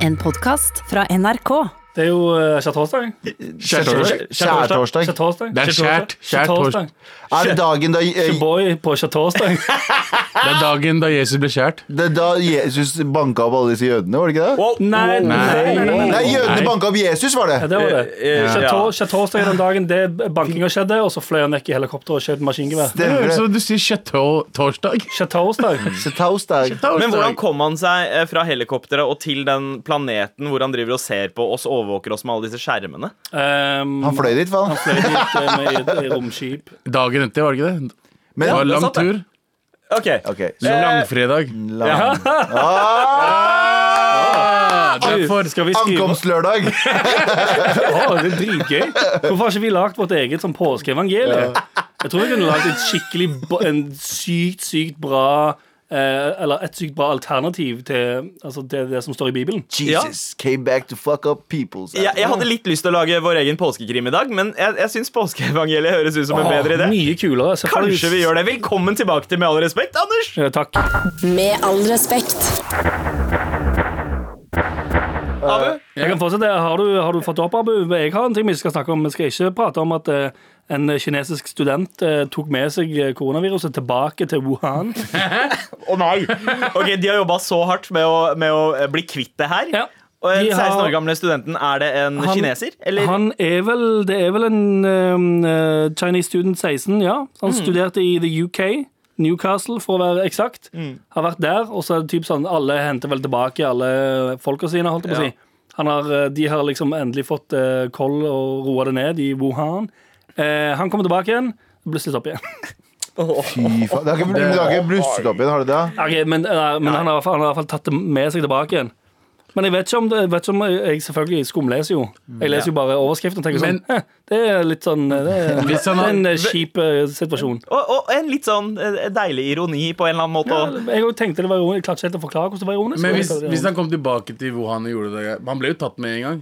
En podkast fra NRK. Det er jo uh, skjærtorsdag. Skjærtorsdag. Skjærtorsdag. Skjærtorsdag. Det er skjært- skjærtorsdag. Er det dagen da, eh, Boy på skjærtorsdag. Det er dagen da Jesus ble skjært. det er da Jesus banka opp alle disse jødene, var det ikke det? Nei, nei, nei. Nei, jødene Nei. banka opp Jesus, var Ja, det! det var det. Eh, eh, Skjærtor- Skjærtorsdag er den dagen det bankinga skjedde, og så fløy han vekk i helikopter og skjøt maskingevær. Stemmer det. Så du sier kjøttorsdag? Skjærtorsdag. Torsdag. Men hvordan kom han seg eh, fra helikopteret og til den planeten hvor han driver og ser på oss, overvåker oss med alle disse skjermene? Um, Han fløy dit, faen. fløy dit eh, med i- i romskip. Dagen etter, var det ikke det? Det var Men det Eh, er lang sant, det. tur. Ok, OK. Så langfredag. Lang. Ah, derfor Skal vi skrive Ankomstlørdag. Å, det er dritgøy. Hvorfor har ikke vi lagd vårt eget sånn påskeevangelie? Jeg tror vi kunne lagd et skikkelig b- en sykt, sykt bra eh, Eller et sykt bra alternativ til, altså, til det som står i Bibelen. Jesus came back to fuck up people. sa jeg, han. jeg hadde litt lyst til å lage vår egen påskekrim i dag, men jeg, jeg syns påskeevangeliet høres ut som en bedre idé. Mye kulere. Se for deg- Kanskje vi gjør det. Velkommen tilbake til Med all respekt, Anders. Eh, Takk. Med all respekt. Abu. Jeg kan fortsette. Har du, har du fått opp, Abu? Jeg har en ting vi skal snakke om. Vi skal ikke prate om at eh, en kinesisk student eh, tok med seg eh, koronaviruset tilbake til Wuhan. Ok, De har jobba så hardt med å, med å eh, bli kvitt det her. Ja. Og den De har- 16 år gamle studenten, er det en Han- kineser? Eller? Han er vel, det er vel en ehm, eh, Chinese student 16, ja. Han Mm. studerte i the UK. Newcastle, for å være eksakt. Mm. Har vært der. Og så er det typ sånn alle henter vel tilbake alle folka sine, holdt jeg på å Ja. si. Han har, eh, de har liksom endelig fått eh, koll og roa det ned i Wuhan. Eh, han kommer tilbake igjen. Blusset opp igjen. Fy faen. Det har ikke, det har ikke blusset opp igjen, har det det? Ok, men eh, men han, har, i hvert fall- han har i hvert fall tatt det med seg tilbake igjen. Men jeg vet ikke om, det, jeg vet ikke om jeg, jeg selvfølgelig skumleser jo. Jeg leser jo bare overskriften og tenker Men- sånn «Hæ, Det er litt sånn eh, Det er, Hvis han det er en har- eh, kjip eh, situasjon. Og, og en litt sånn eh, deilig ironi på en eller annen måte. og- Jeg også tenkte det var ironisk. Jeg klarte ikke helt å forklare hvordan det var ironisk. Men Jeg hvis, tenkte det hvis var han kom tilbake til Wuhan og gjorde det Han ble jo tatt med en gang.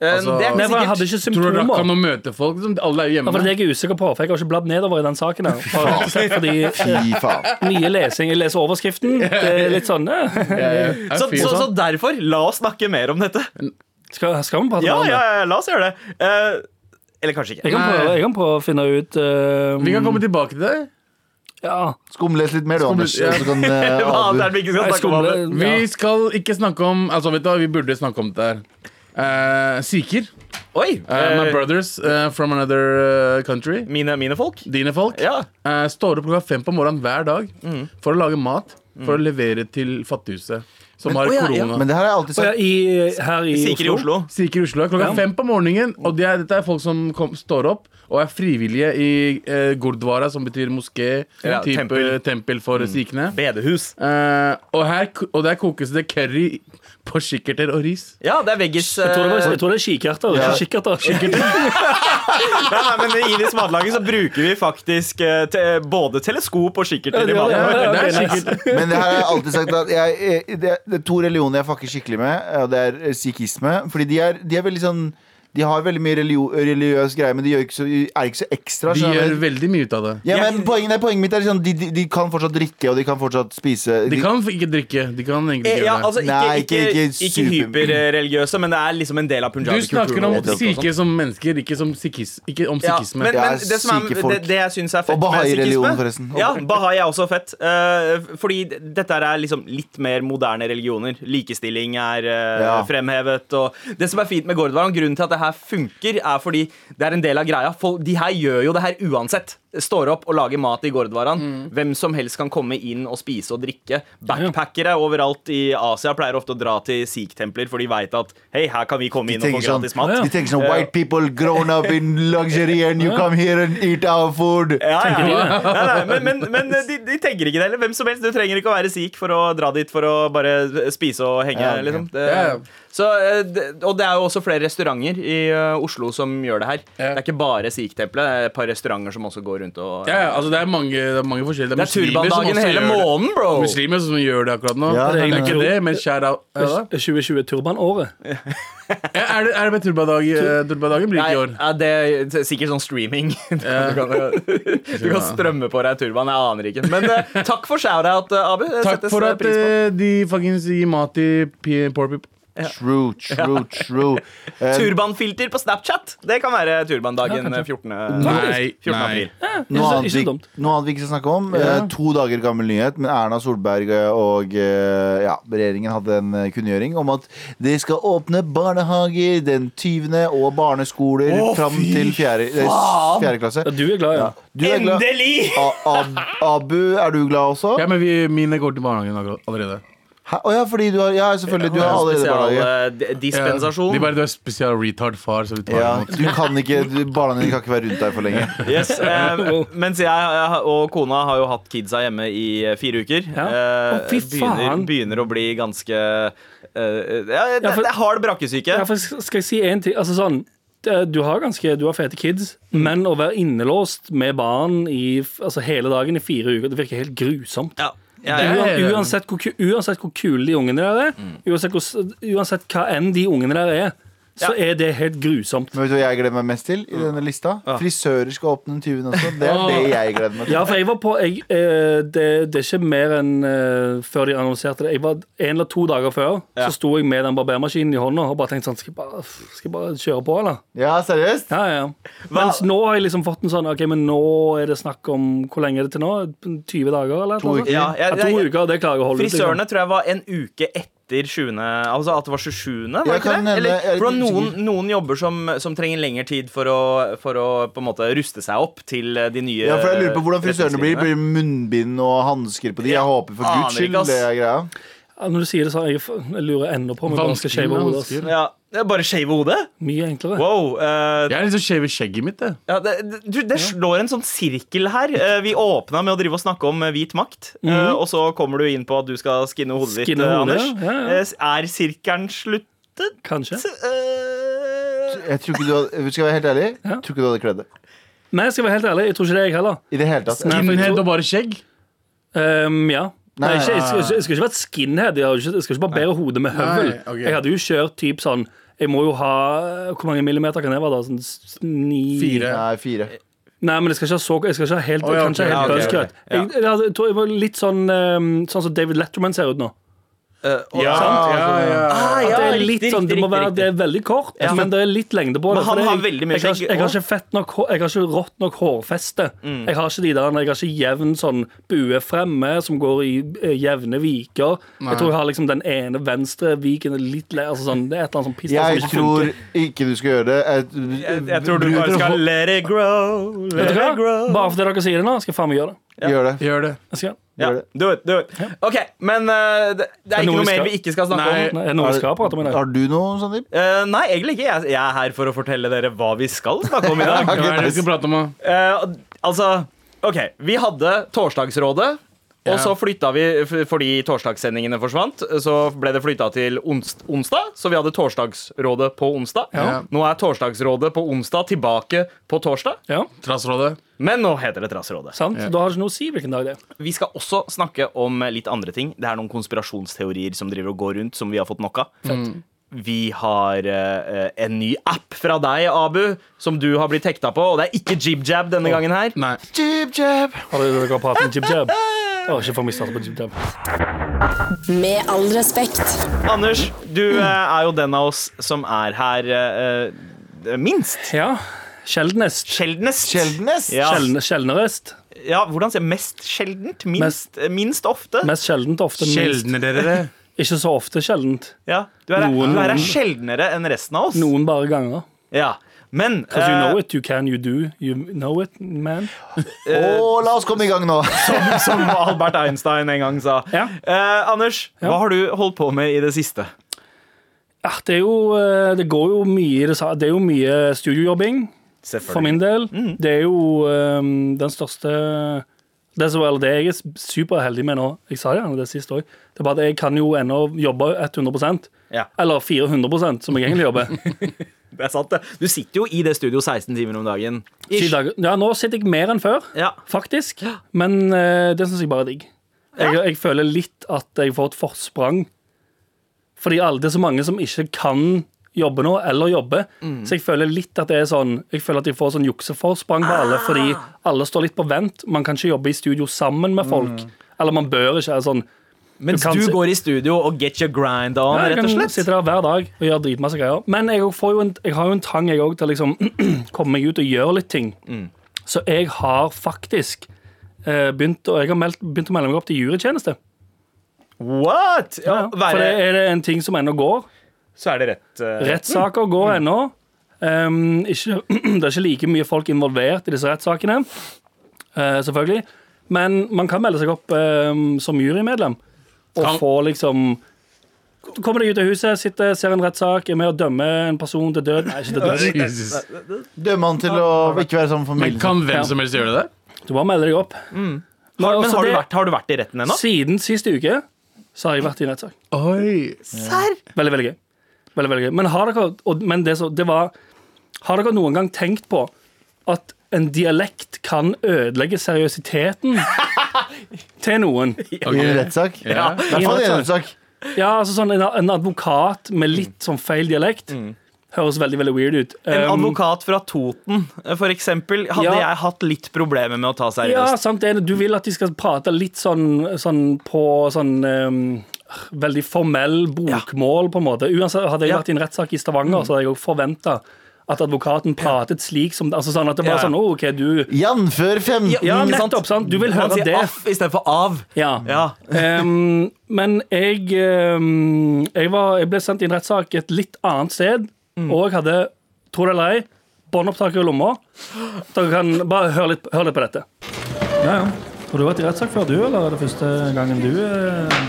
Eh, altså- det er ironisk. Nei, ikke for han sikkert. hadde ikke Tror du rakk han symptomer. å møte folk? liksom? Alle er jo Ja, for det hjemme. er jeg usikker på, for jeg har ikke bladd nedover i den saken. her Bare rett og slett Fordi eh, Fy faen. mye lesing. Jeg leser overskriften. Det er litt sånn eh, Jeg Så, er fyr, så, så sånn. derfor, la oss snakke mer om dette. Skal, skal vi prate Ja, mer om ja, det? ja, la oss gjøre det. Eh, eller kanskje ikke. Jeg kan, prøve, jeg kan prøve å finne ut eh, Vi kan komme tilbake til det. Ja. Skumles litt mer, du, Anders. Skumles, ja. Så kan, eh, Hva annet er Abu- det vi ikke skal Jeg snakke om? skumle, Abu? Vi ja. skal ikke snakke om Altså, vet du hva, vi burde snakke om det her. Eh, Sikher. Oi, Eh, my eh, brothers eh, from another eh, country. mine, mine folk? Dine folk. Ja. Eh, står opp klokka fem på morgenen hver dag Mm. for å lage mat. For å levere til fattighuset, som har å ja, ja. korona. Men det her har jeg alltid Å, ja, sagt. i, eh, her i Sikker i Oslo. Oslo. Sikker i Oslo er klokka Ja. fem på morgenen. Og det er, dette er folk som kom, står opp og er frivillige i eh, Gurdwara, som betyr moské. Ja, type, eh, tempel. Mm. tempel. for sikhene. Bedehus. Eh, og, her, ko- og der kokes det curry på kikkerter og ris. Ja, det er veggis. Jeg tror det, var, eh, jeg tror det er kikerter. ikke kikkerter. Nei, nei, men I det smadlaget så bruker vi faktisk eh, te både teleskop og kikkert til i Ja, Det ja, maten. ja, er ok, nice. sikkert Men det her har jeg alltid sagt at jeg, eh, det, det er to religioner jeg fucker skikkelig med, eh, og det er sikhisme. Fordi de er, de er veldig sånn De har veldig mye relio, religiøs greie, men de gjør ikke så, er ikke så ekstra. De skjønner du? gjør veldig mye ut av det. ja, men poenget, nei, poenget mitt er sånn de, de, de kan fortsatt drikke, og de kan fortsatt spise. De kan ikke drikke. De kan egentlig Eh, ikke Ja, gjøre det. altså, ikke, Nei, ikke, ikke- ikke, ikke super- hyperreligiøse, men det er liksom en del av Du punjabi-kulturen. snakker om nettopp. sikhe som mennesker, ikke, som sikhis, ikke om sånn. Ja, sikhisme. men, Det er men det, som er, syke folk. det, det jeg syns er fett Og bahai-religionen, med sikhisme- forresten. Ja, bahai er også fett. eh, fordi dette her er liksom litt mer moderne religioner. Likestilling er eh, Ja. fremhevet. Og det som er fint med Gordvan, grunnen til at det her funker, er fordi det er en del av greia. Folk, de her gjør jo det her uansett. Står opp og lager mat i Gordvaran. Mm. Hvem som helst kan komme inn og spise og drikke. Backpackere overalt i Asia pleier ofte å dra til sikh-templer, for de veit at hei, her kan vi komme De inn og få tenker, sånn, gratis mat. de tenker sånn White people grown up in luxury and you come here and eat our food. Ja, de ja. det? Nei, nei, men men, men eh, de, de tenker ikke det heller. Hvem som helst. Du trenger ikke å være sikh for å dra dit for å bare spise og henge. Ja, ok. liksom. det, Ja, ja. Så, eh, det- og det er jo også flere restauranter i eh, Oslo som gjør det her. Ja. Det er ikke bare sikh-tempelet. Det er et par restauranter som også går rundt og ja, ja, altså det er mange, det er mange forskjellige Det er turbandagen gjør hele det. måneden, bro! Muslimer som gjør det akkurat nå. det er Ja, det er egentlig det. ikke det, men shout out. Ja, da. 2020-turbanåret. Ja, er det, er det med turbandag, eh, turbandagen blir Nei, ikke i år? ja, det er sikkert sånn streaming. Du kan, du kan strømme på deg turban. Jeg aner ikke. Men eh, takk for shout-out, eh, Abu. Det Takk settes, for eh, at pris på. eh, de fuckings gir mat til p- poor people. True, true, true. Eh, Turbanfilter på Snapchat! Det kan være turbandagen 14. Nei, 14. nei. april. noe, Ikke så- annet ikke så vi, dumt. noe annet vi ikke skal snakke om. eh, to dager gammel nyhet, men Erna Solberg eh, og eh, ja, regjeringen hadde en eh, kunngjøring om at de skal åpne barnehager den 20. og barneskoler fram til 4. klasse. Ja, du er glad, ja. Du er glad. Endelig! A Ab Abu, er du glad også? Ja, men vi, mine går til barnehagen akkurat- allerede. Hæ? Å ja, fordi du har Ja, selvfølgelig. Du har allerede Spesial barnehage. eh, d- dispensasjon. De bare, du er spesial retard far, så vi tar Ja, imot. du kan ikke, du, barna dine kan ikke være rundt deg for lenge. Yes, eh, mens jeg eh, og kona har jo hatt kidsa hjemme i eh, fire uker. Ja. Eh, Å, fy begynner, faen. begynner å bli ganske eh, ja, det, Ja, for- det er hard brakkesyke. Ja, for sk- skal jeg si en ting? Altså sånn, det- du har ganske, du har fete kids, men å være innelåst med barn i, f- altså hele dagen i fire uker, det virker helt grusomt. Ja, ja, Det ja. er ja, ja. uan- Uansett hvor, ku- uansett hvor kule de ungene der er, uansett, hvor, s- uansett hva enn de ungene der er, så er det helt grusomt. Men vet du hva jeg gleder meg mest til i denne lista? Frisører skal åpne den 20. også. Det er det jeg gleder meg til. Ja, for jeg var på jeg, eh, det, det er ikke mer enn eh, før de annonserte det. Jeg var En eller to dager før Ja. så sto jeg med den barbermaskinen i hånda og bare tenkte sånn Skal jeg bare, skal jeg bare kjøre på, eller? Ja, seriøst? Ja, ja. Mens nå har jeg liksom fått en sånn Ok, men nå er det snakk om Hvor lenge er det til nå? 20 dager, eller? To noe sånt? uker. Ja, Ja, jeg- to jeg- uker, det klarer jeg å holde ut. liksom. Frisørene tror jeg var en uke etter 20. Altså at det var 27. Var det Jeg ikke kan det? nevne- Eller, jeg er for det var litt noen, usikker. noen jobber som, som trenger lengre tid for å, for å på en måte ruste seg opp til eh, de nye Ja, for jeg lurer på Eh, hvordan frisørene blir. retningslinjene. Blir det munnbind og hansker på de? Jeg håper for Aner guds ikke, skyld ass. det er greia. Ja, Når du sier det sånn, jeg, f- jeg lurer ennå på om jeg bare skal Vanskelig shave med hodet. ass. hansker. Ja, det er Bare shave hodet? Mye enklere. Wow. eh, Jeg er litt så skjev i skjegget mitt, det. Ja, det, det- du, det slår en sånn sirkel her. Eh, Vi åpna med å drive og snakke om eh, hvit makt, eh, Mhm. og så kommer du inn på at du skal skinne hodet ditt, Skinne eh, hodet, Anders. ja, ja. Eh, s- Er sirkelen sluttet? Kanskje. Eh, Jeg tror ikke du hadde, skal jeg være helt ærlig, Ja. tror ikke du hadde kledd det. Nei, jeg skal være helt ærlig, jeg tror ikke det, jeg heller. I det hele tatt. Nei, for jeg Innhead tror- og bare skjegg. Ehm, ja. Nei, Nei. ikke, jeg, skal, jeg skal ikke være skinhead. Jeg, har jo ikke, jeg skal ikke barbere hodet med høvel. Nei, ok. Jeg hadde jo kjørt typ sånn Jeg må jo ha Hvor mange millimeter kan det være? da? Sånn s- ni Fire. Nei, fire. Eh, Nei, men jeg skal ikke ha så Jeg skal ikke ha helt, Å, ja, kanskje ok. helt Ja, ok, bøskrøt. ok. Ja. Jeg, jeg, hadde- jeg tror jeg var litt sånn ehm, Sånn som David Letterman ser ut nå. eh, og- Ja, ja, sant? ja. Ah, ja, At det er litt riktig, sånn, det må riktig, være riktig. det er veldig kort, Ja. men det er litt lengde på Men det. for han det- har veldig mye jeg, har skjegg ikke- jeg har også. ikke fett nok hår- Jeg har ikke rått nok hårfeste. Mm. Jeg har ikke de der, jeg har ikke jevn sånn bue fremme som går i eh, jevne viker. Nei. Jeg tror jeg har liksom den ene venstre viken er litt le- altså sånn, Det er et eller annet sånn piss der Jeg som ikke tror funker. ikke du skal gjøre det. Jeg, Jeg, jeg tror du bare skal let it grow, Vet let du it hva? grow. Bare fordi dere sier det nå, skal jeg faen meg gjøre det. Gjør det. Gjør det. Jeg skal. Ja, Gjør det. do it, do it. Ok, men eh, det, det noe er ikke noe vi mer skal- vi ikke skal snakke Nei. om. Nei, Er det noe vi skal prate om i dag? Har du noe, sånn Sandeep? Eh, nei, egentlig ikke. Jeg, jeg er her for å fortelle dere hva vi skal snakke om i dag. Hva er det vi skal prate om, da? Eh, altså, ok, vi hadde torsdagsrådet og Ja. så flytta vi, f- fordi torsdagssendingene forsvant, så ble det flytta til ons onsdag. Så vi hadde Torsdagsrådet på onsdag. Ja. Nå er Torsdagsrådet på onsdag tilbake på torsdag, Ja, Trassrådet. men nå heter det Trassrådet. sant? Da har det ikke noe å si hvilken dag det er. Vi skal også snakke om litt andre ting. Det er noen konspirasjonsteorier som driver og går rundt, som vi har fått nok av. Mm. Vi har eh, en ny app fra deg, Abu, som du har blitt hekta på. Og det er ikke jib-jab denne gangen her. Nei. Jib jab. Har dere dere har pratet om Jib Jab? Å, ikke få meg startet på Jib Jab. Med all respekt. Anders, du eh, er jo den av oss som er her eh, eh, minst. Ja, sjeldnest. Sjeldnest. Sjeldnest. Ja. Sjeldne- Sjeldnerest. ja, hvordan sier jeg mest sjeldent? Minst, eh, minst ofte? Mest sjeldent, ofte minst. Sjeldner dere det? Ikke så ofte sjeldent. Ja, du er, Noen- du er her sjeldnere enn resten av oss. Noen bare ganger. Ja. Men Because you eh, know it, you can, you do. You know it, man. Å, la oss komme i gang nå. som Albert Einstein en gang sa. Ja. Eh, Anders, hva har du holdt på med i det siste? Ja, det, er jo, eh, det går jo mye i det sa- Det er jo mye studiojobbing, for min del. Mm. Det er jo eh, den største det, som, eller det jeg er superheldig med nå, jeg sa det gjerne det sist òg, det er bare at jeg kan jo ennå jobbe 100 Ja. Eller 400 som jeg egentlig jobber. Det er sant, det. Du sitter jo i det studio 16 timer om dagen. Syv Ish. dager. Ja, nå sitter jeg mer enn før, Ja. faktisk. Men eh, det syns jeg bare er digg. Jeg, jeg føler litt at jeg får et forsprang. Fordi alle, det er så mange som ikke kan jobbe nå, eller jobbe. Så jeg føler litt at det er sånn Jeg føler at jeg får sånn jukseforsprang på alle, fordi alle står litt på vent. Man kan ikke jobbe i studio sammen med folk. Eller man bør ikke. er Sånn, Mens Du kan du si- går i studio og get your grind on, Ja, jeg rett og kan slett. sitte der hver dag og gjøre dritmasse greier. Men jeg, også får jo en, jeg har jo en trang jeg også, til å liksom, komme meg ut og gjøre litt ting. Mm. Så jeg har faktisk eh, begynt, å- jeg har meldt, begynt å melde meg opp til jurytjeneste. What? Ja, For det være, er det en ting som ennå går. så er det rett. eh, Rettssaker går ennå. Um, ikke, det er ikke like mye folk involvert i disse rettssakene, eh, selvfølgelig. Men man kan melde seg opp um, som jurymedlem og Kan- få liksom Kommer deg ut av huset, sitter, ser en rettssak, er med å dømme en person til døden. Nei, ikke til døden. Jesus. Dømmer han til å ikke være sammen med Men familien. kan hvem som helst gjøre det? Du bare melder deg opp. Har, også men har du, altså det- vært, har du vært i retten ennå? Siden sist uke så har jeg vært i en rettssak. Oi. Veldig, veldig gøy. Veldig, veldig gøy. Men har dere, og, men det, så, det var, har dere noen gang tenkt på at en dialekt kan ødelegge seriøsiteten til noen? I en rettssak. I Ja. hvert fall i en rettssak. Ja, altså sånn En, en advokat med litt sånn feil dialekt høres veldig veldig weird ut. Mm. En Um, advokat fra Toten, eh, for eksempel, hadde Ja. jeg hatt litt problemer med å ja, ta seriøst. sant, det, er- Du vil at de skal prate litt sånn, sånn på sånn um, Veldig formell bokmål, på en måte. Uansett, Hadde jeg Ja. vært i en rettssak i Stavanger, så hadde jeg jo forventa at advokaten pratet slik som altså sånn At det var Ja. sånn oh, OK, du Jannfør 15. Ja, ikke nettopp, sant? Du vil Man høre sier det. aff istedenfor av. Ja. Ja. Ehm, men jeg, ehm, jeg, var, jeg ble sendt i en rettssak et litt annet sted, Mm. og jeg hadde, tro det eller ei, båndopptaker i lomma. Dere kan bare høre litt, hør litt på dette. Ja, ja. Har du vært i rettssak før, du, eller er det første gangen du eh,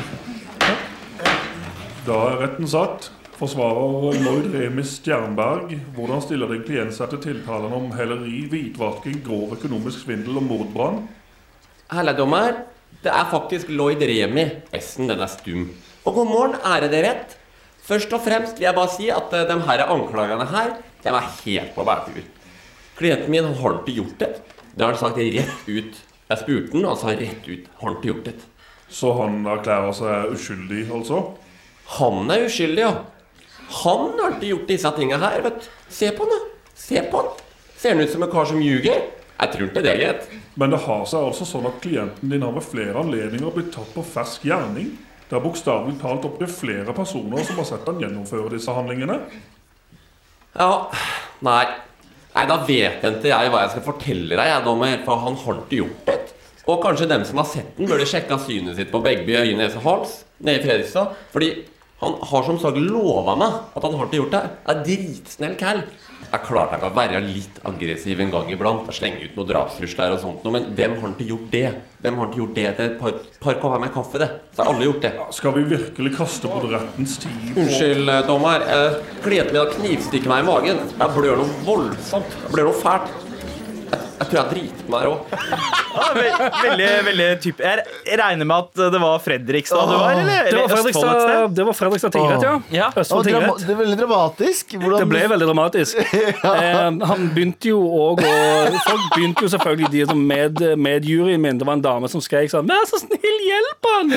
Da er retten satt. Forsvarer Lloyd Remis Stjernberg, hvordan stiller deg til gjensatte tiltalene om heleri, hvitvasking, grov økonomisk svindel og mordbrann? Halla, dommer. Det er faktisk Lloyd Remi. Resten, den er stum. Og god morgen, ærede rett. Først og fremst vil jeg bare si at eh, de her anklagene her, de er helt på bærtur. Klienten min har ikke gjort det. Det har han sagt rett ut. Jeg spurte han, og han sa rett ut. Har han ikke gjort det? Så han erklærer seg uskyldig, altså? Han er uskyldig, ja. Han har ikke gjort disse tinga her, vet du. Se på han, da. Se på han. Ser han ut som en kar som ljuger? Jeg tror ikke det, gitt. Men det har seg altså sånn at klienten din har ved flere anledninger blitt tatt på fersk gjerning. Det er bokstavelig talt opptil flere personer som har sett han gjennomføre disse handlingene. Ja, nei Nei, da vet ikke jeg hva jeg skal fortelle deg, jeg, dommer, for han har ikke gjort det. Og kanskje dem som har sett den, burde sjekka synet sitt på Begby øye, nese og hals nede i Fredrikstad. Fordi han har som sagt lova meg at han har ikke gjort det. Jeg er dritsnill kall. Jeg klarte ikke å være litt aggressiv en gang iblant og slenge ut noen drapstrusler og sånt noe, men dem har ikke gjort det. Dem har ikke gjort det til et par, par kopper med kaffe, det. Så har alle gjort det. Skal vi virkelig kaste både rettens tid og Unnskyld, dommer. Eh, Klienten min har knivstikket meg i magen. Jeg blør noe voldsomt. Jeg blør noe fælt. Jeg, jeg tror jeg driter meg her òg. Ja, ve- veldig, veldig typ. Jeg jeg regner med at det var Fredrikstad du var, eller? Det eller var Østfold et sted? Fredrikstad, det var Fredrikstad tingrett, ja. Ja. Det, var Østfold drama- tingrett. det er veldig dramatisk. Hvordan, Det ble veldig dramatisk. eh, han begynte jo òg å Folk begynte jo selvfølgelig de som med, med juryen min. Det var en dame som skrek sånn 'Vær så snill, hjelp han!'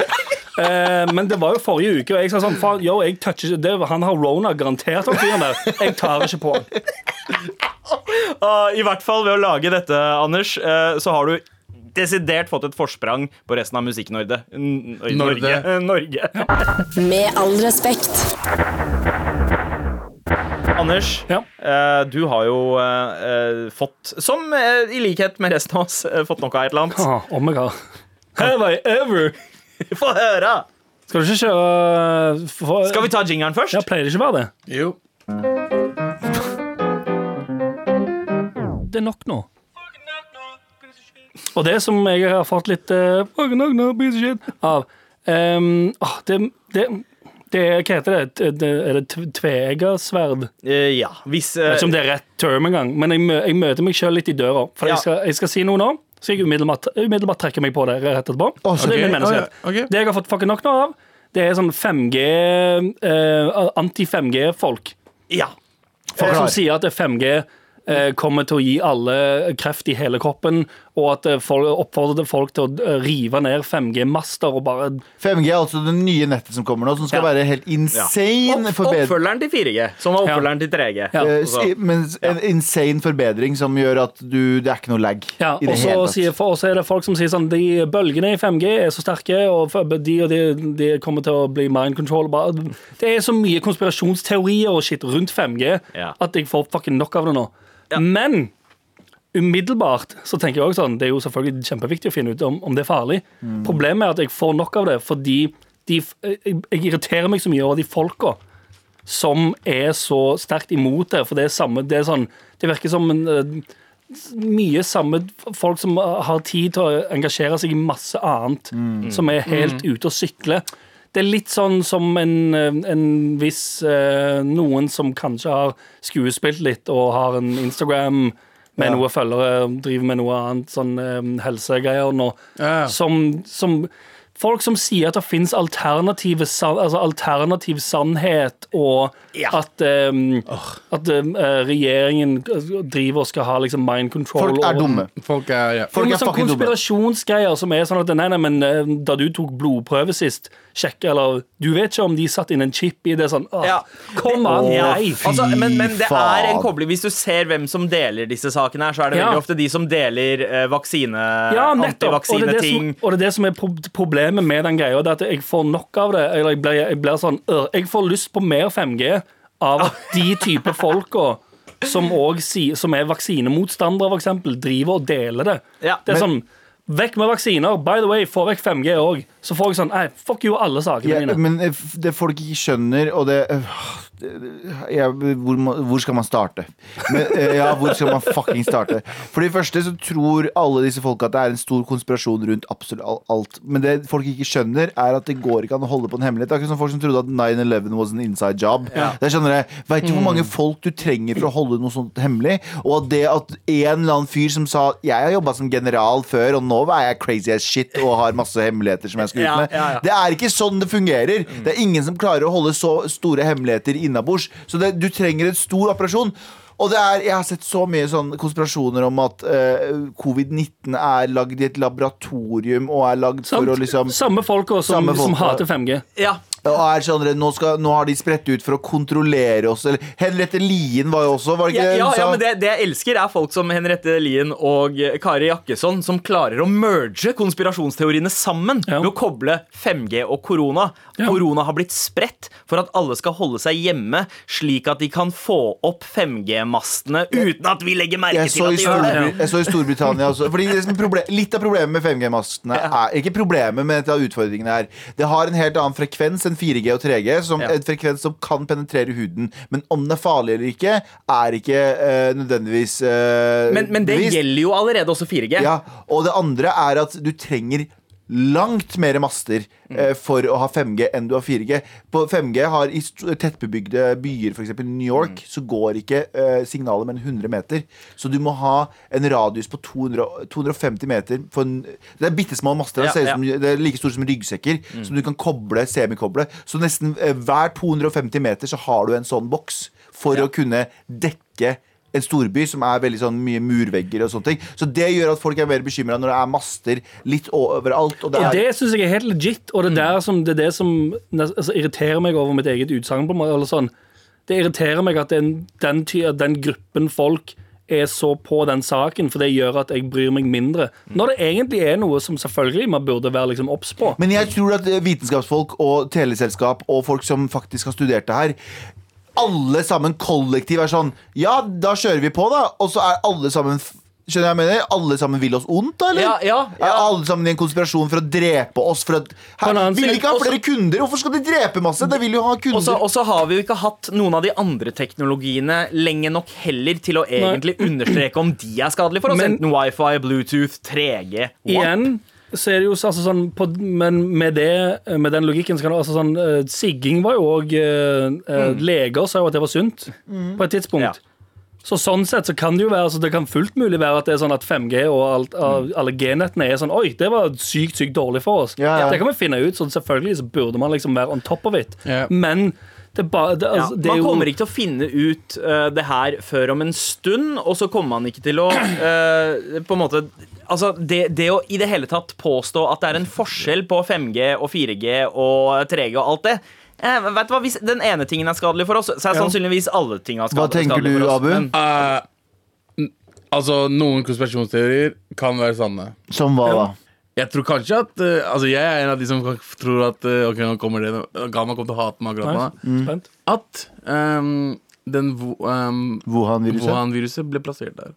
Eh, men det var jo forrige uke, og jeg sa sånn Faen, yo, jeg toucher ikke det, Han har rona, garantert, han fyren der. Jeg tar ikke på. han.» Og Ah, I hvert fall ved å lage dette, Anders, eh, så har du desidert fått et forsprang på resten av Musikknorge. N- Norge. Norge. Norge. Med all respekt. Anders, Ja. eh, du har jo eh, eh, fått, som eh, i likhet med resten av oss, eh, fått nok av et eller annet. Ah, oh my god. Have I ever? Få høre! Skal du ikke kjøre for, Skal vi ta jingeren først? Ja, pleier det ikke å være det? Jo. det er nok nå. Og det som jeg har fått litt eh, fucking nok nå, piece of shit, av ehm, ah, det, det, det Hva heter det? Det- det? Er det tv- tveeggersverd? Jeg Eh, ja, hvis eh, vet ikke om det er rett term engang, men jeg, mø jeg møter meg sjøl litt i døra. For Ja. jeg, skal, jeg skal si noe nå, så jeg umiddelbart, umiddelbart trekker meg på det rett etterpå. Og det er min menneskerett. Å, ja, ok. Det jeg har fått fucking nok nå av, det er sånn 5G eh, Anti-5G-folk. Ja. Folk som Forklar. sier at 5G eh, kommer til å gi alle kreft i hele kroppen, og at eh, folk oppfordret folk til å eh, rive ned 5G-master og bare 5G er altså det nye nettet som kommer nå, som skal Ja. være helt insane Opp, forbedring. oppfølgeren til 4G, som var oppfølgeren til 3G. Ja. Eh, Altså, si- Men en insane forbedring som gjør at du, det er ikke noe lag. Ja, og i det så hele tatt. sier- for- og så er det folk som sier sånn De bølgene i 5G er så sterke, og for- de og de, de kommer til å bli mind control. Bare, det er så mye konspirasjonsteorier og shit rundt 5G Ja. at jeg får fucking nok av det nå. Men umiddelbart så tenker jeg også sånn Det er jo selvfølgelig kjempeviktig å finne ut om, om det er farlig. Mm. Problemet er at jeg får nok av det fordi de, f- eh, jeg, jeg irriterer meg så mye over de folka som er så sterkt imot det. For det er samme Det, er sånn, det virker som en, eh, mye samme folk som har tid til å engasjere seg i masse annet, som er helt ute og sykler. Det er litt sånn som en, en viss eh, noen som kanskje har skuespilt litt og har en Instagram med Ja. noe følgere, driver med noe annet, sånn eh, helsegreier nå, Ja. som, som Folk som sier at det fins alternative san- altså alternativ sannhet, og at, eh, at eh, regjeringen driver og skal ha liksom mind control Folk er over- dumme. Folk er ja. Folk jo, men er sånn fucking dumme. konspirasjonsgreier som er sånn at Nei, nei, men eh, da du tok blodprøve sist, sjekk Eller du vet ikke om de satt inn en chip i det sånn ah, Ja. Kom an, Det- nei! fy Altså, men, men det er en faen. kobling Hvis du ser hvem som deler disse sakene, her så er det Ja. veldig ofte de som deler eh, vaksine, Ja, nettopp. Og det, er det som, antivaksineting. og det er det som er prob- problemet med den greia. Det er at jeg får nok av det. Eller jeg blir, jeg blir sånn øh, Jeg får lyst på mer 5G av at de type folka som, også sier- som er vaksinemotstandere, for eksempel driver og deler det. Ja. det er sånn Vekk med vaksiner. By the way, får jeg 5G òg, så får jeg sånn Nei, fuck you, alle sakene Ja, mine. men eh, f- det folk ikke skjønner, og det øh, det- ja, hvor, må- hvor skal man starte? Men, eh, ja, hvor skal man fucking starte? For det første så tror alle disse folka at det er en stor konspirasjon rundt absolutt al- alt. Men det folk ikke skjønner, er at det går ikke an å holde på en hemmelighet. Det er akkurat som folk som trodde at 9-11 was an inside job. Det er sånn dere, Vet du Mm. hvor mange folk du trenger for å holde noe sånt hemmelig? Og at det at en eller annen fyr som sa 'jeg har jobba som general før, og nå er jeg crazy as shit' og har masse hemmeligheter som jeg skal ut Ja, med', ja, ja. det er ikke sånn det fungerer. Det er ingen som klarer å holde så store hemmeligheter innabords. Så det, du trenger en stor operasjon. Og det er, Jeg har sett så mye sånn konspirasjoner om at eh, covid-19 er lagd i et laboratorium og er lagd Sant? for å liksom Samme folka som, Samme som folka. hater 5G. Ja. og er sånn, dere, nå, skal, nå har de spredt ut for å kontrollere oss. Eller Henriette Lien var jo også, var det Ja, ikke det ja, hun ja, sa? men det, det jeg elsker, er folk som Henriette Lien og eh, Kari Jakkesson, som klarer å merge konspirasjonsteoriene sammen Ja. ved å koble 5G og korona. Ja. Korona har blitt spredt for at alle skal holde seg hjemme, slik at de kan få opp 5G-mastene uten at vi legger merke jeg så, til i at de gjør Storbritannia, det. jeg så i Storbritannia også. Fordi det som er liksom proble- Litt av problemet med 5G-mastene er Ikke problemet, men et av utfordringene er Det har en helt annen frekvens enn 4G og 3G. Som, Ja. En frekvens som kan penetrere huden. Men om den er farlig eller ikke, er ikke eh, nødvendigvis eh, Men, men det bevist. gjelder jo allerede også 4G. Ja, og det andre er at du trenger langt mer master Mm. eh, for å ha 5G enn du har 4G. På 5G har i st- tettbebygde byer, f.eks. New York, Mm. så går ikke eh, signalet mer enn 100 meter. Så du må ha en radius på 200, 250 meter. For en, det er bitte små master. Ja, det, ser ut ja. som, det er like store som ryggsekker, som du kan koble, semikoble. Så nesten eh, hver 250 meter så har du en sånn boks for å kunne dekke en storby som er veldig sånn mye murvegger og sånne ting. Så det gjør at folk er mer bekymra når det er master litt overalt. Og det Og er, det syns jeg er helt legit, og det er, Mm. der som, det, er det som nes- altså, irriterer meg over mitt eget utsagn. på en måte, eller sånn. Det irriterer meg at den, den, ty- at den gruppen folk er så på den saken, for det gjør at jeg bryr meg mindre. Mm. Når det egentlig er noe som selvfølgelig man burde være liksom obs på. Men jeg tror at eh, vitenskapsfolk og teleselskap og folk som faktisk har studert det her alle sammen kollektiv er sånn Ja, da kjører vi på, da. Og så er alle sammen f- Skjønner jeg hva jeg mener? Alle sammen vil oss ondt, da? eller? Ja, ja, ja. Er alle sammen i en konspirasjon for å drepe oss? For at, På en her, annen vil side- ikke ha også- flere kunder! Hvorfor skal de drepe masse? De vil jo ha kunder. Og så- Og så har vi jo ikke hatt noen av de andre teknologiene lenge nok heller til å egentlig understreke om de er skadelige for oss. Men- Enten wifi, Bluetooth, 3G. What? Igjen så er det jo så- altså, sånn på, Men med, det, eh, med den logikken så kan det altså sånn eh, Sigging var jo òg Leger sa jo at det var sunt på et tidspunkt. Ja. Så sånn sett så kan det jo være altså, Det kan fullt mulig være at det er sånn at 5G og alt, av, alle G-nettene er sånn Oi, det var sykt, sykt dårlig for oss. Ja, ja. Det kan vi finne ut, så selvfølgelig så burde man liksom være on top of it. Ja. Men det, er bare- det, Ja, altså, det er man jo kommer ikke til å finne ut eh, det her før om en stund, og så kommer man ikke til å eh, på en måte altså det, det å i det hele tatt påstå at det er en forskjell på 5G og 4G og 3G og alt det eh, vet du hva, Hvis den ene tingen er skadelig for oss, så er sannsynligvis alle ting er Hva skadelig, tenker du, skadelig for oss. Abu? Men, Eh, n- altså, noen konspirasjonsteorier kan være sanne. Som hva da? Jeg tror kanskje at eh, Altså, jeg er en av de som kan- tror at eh, Ok, nå kommer det Gama kommer til å hate meg akkurat nå. Spent. At ehm, den vo- ehm, Wuhan-viruset? Wuhan-viruset ble plassert der.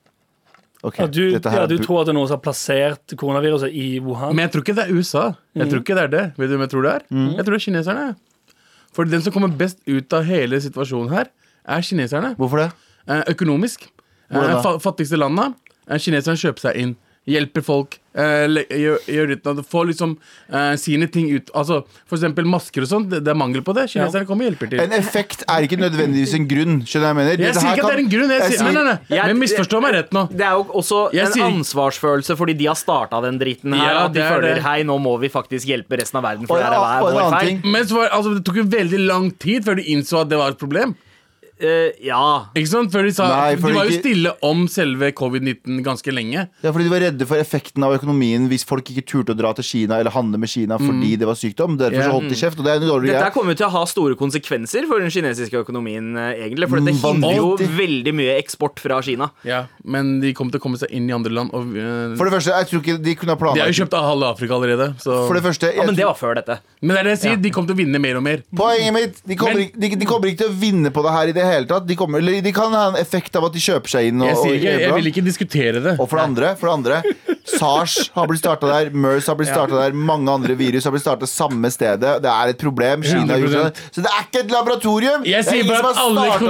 Ok, Ja, du, dette her ja, er du bu- tror at det er noen som har plassert koronaviruset i Wuhan? Men jeg tror ikke det er USA. Jeg tror ikke det er det. Vet du hvem jeg tror det er? Jeg tror det er kineserne. For den som kommer best ut av hele situasjonen her, er kineserne. Hvorfor det? Eh, økonomisk. Hvordan Eh, da? fa fattigste landa. Eh, kineserne kjøper seg inn. Hjelper folk. Eh, le- gjør, gjør uten at Får liksom eh, sine ting ut. Altså, for eksempel masker og sånn. Det, det er mangel på det. Kineserne kommer og hjelper til. En effekt er ikke nødvendigvis en grunn. Skjønner jeg hva jeg mener? Jeg Dette sier Eh, her ikke at det er kan- en grunn. Jeg sier, nei, nei, nei. Jeg- Men misforstå meg rett nå. det er jo også Jeg en sier- ansvarsfølelse fordi de har starta den dritten her. Ja, at de det er føler det. hei, nå må vi faktisk hjelpe resten av verden. For Og det en her er annen- og en vår annen feil. ting. Men så var, altså, det tok jo veldig lang tid før du innså at det var et problem. Eh, ja. Ikke sant? Før de sa Nei, for De var jo ikke- stille om selve covid-19 ganske lenge. Ja, fordi De var redde for effekten av økonomien hvis folk ikke turte å dra til Kina eller handle med Kina fordi det var sykdom. Derfor Mm. Ja. så holdt de kjeft. Og det er en dårlig Dette her greie. kommer jo til å ha store konsekvenser for den kinesiske økonomien. eh, egentlig For dette Mm, hindrer jo vanvittig. veldig mye eksport fra Kina. Ja, Men de kom til å komme seg inn i andre land. Og, eh, For det første, jeg tror ikke de kunne ha de har jo planlagt kjøpt av halve Afrika allerede. Så. For det første, Ja, jeg Men det tror- var før dette. Men det er det jeg sier, de kommer til å vinne mer og mer. Poenget mitt de kommer, Men- ikke, de, de kommer ikke til å vinne på det her i det hele tatt. De, kommer, eller, de kan ha en effekt av at de kjøper seg inn. Og, Jeg, sier ikke, og, jeg vil ikke diskutere det. og for det andre, for det andre SARS har blitt starta der, MERS har blitt starta der, mange andre virus har blitt starta samme stedet. Det er et problem. Kina har gjort det. Så det er ikke et laboratorium! Jeg Det er sier ingen bare som at har alle startet det.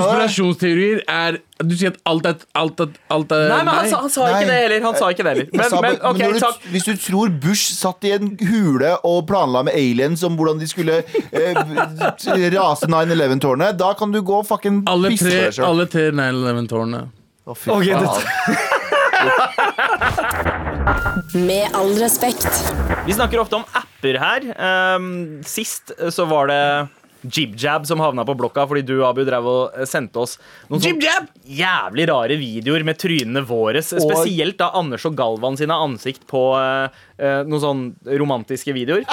konspirasjonsteorier er Du sier at alt er alt er, alt er Nei, men altså, han, sa- han sa Nei. ikke det heller. Han sa ikke det heller. Jeg Men, sa, men men ok, når takk. du, hvis du tror Bush satt i en hule og planla med aliens om hvordan de skulle eh, b- rase 9-11-tårnet, da kan du gå og fucking Alle tre, pisse på deg sjøl. alle tre 9-11-tårnene. Å, fy Ok, faen. Med all respekt. Vi snakker ofte om apper her. Ehm, sist eh, så var det JibJab som havna på blokka fordi du, Abu, drev og eh, sendte oss noen sånne jævlig rare videoer med trynene våre. Spesielt da Anders og Galvan sine ansikt på eh, eh, noen sånne romantiske videoer.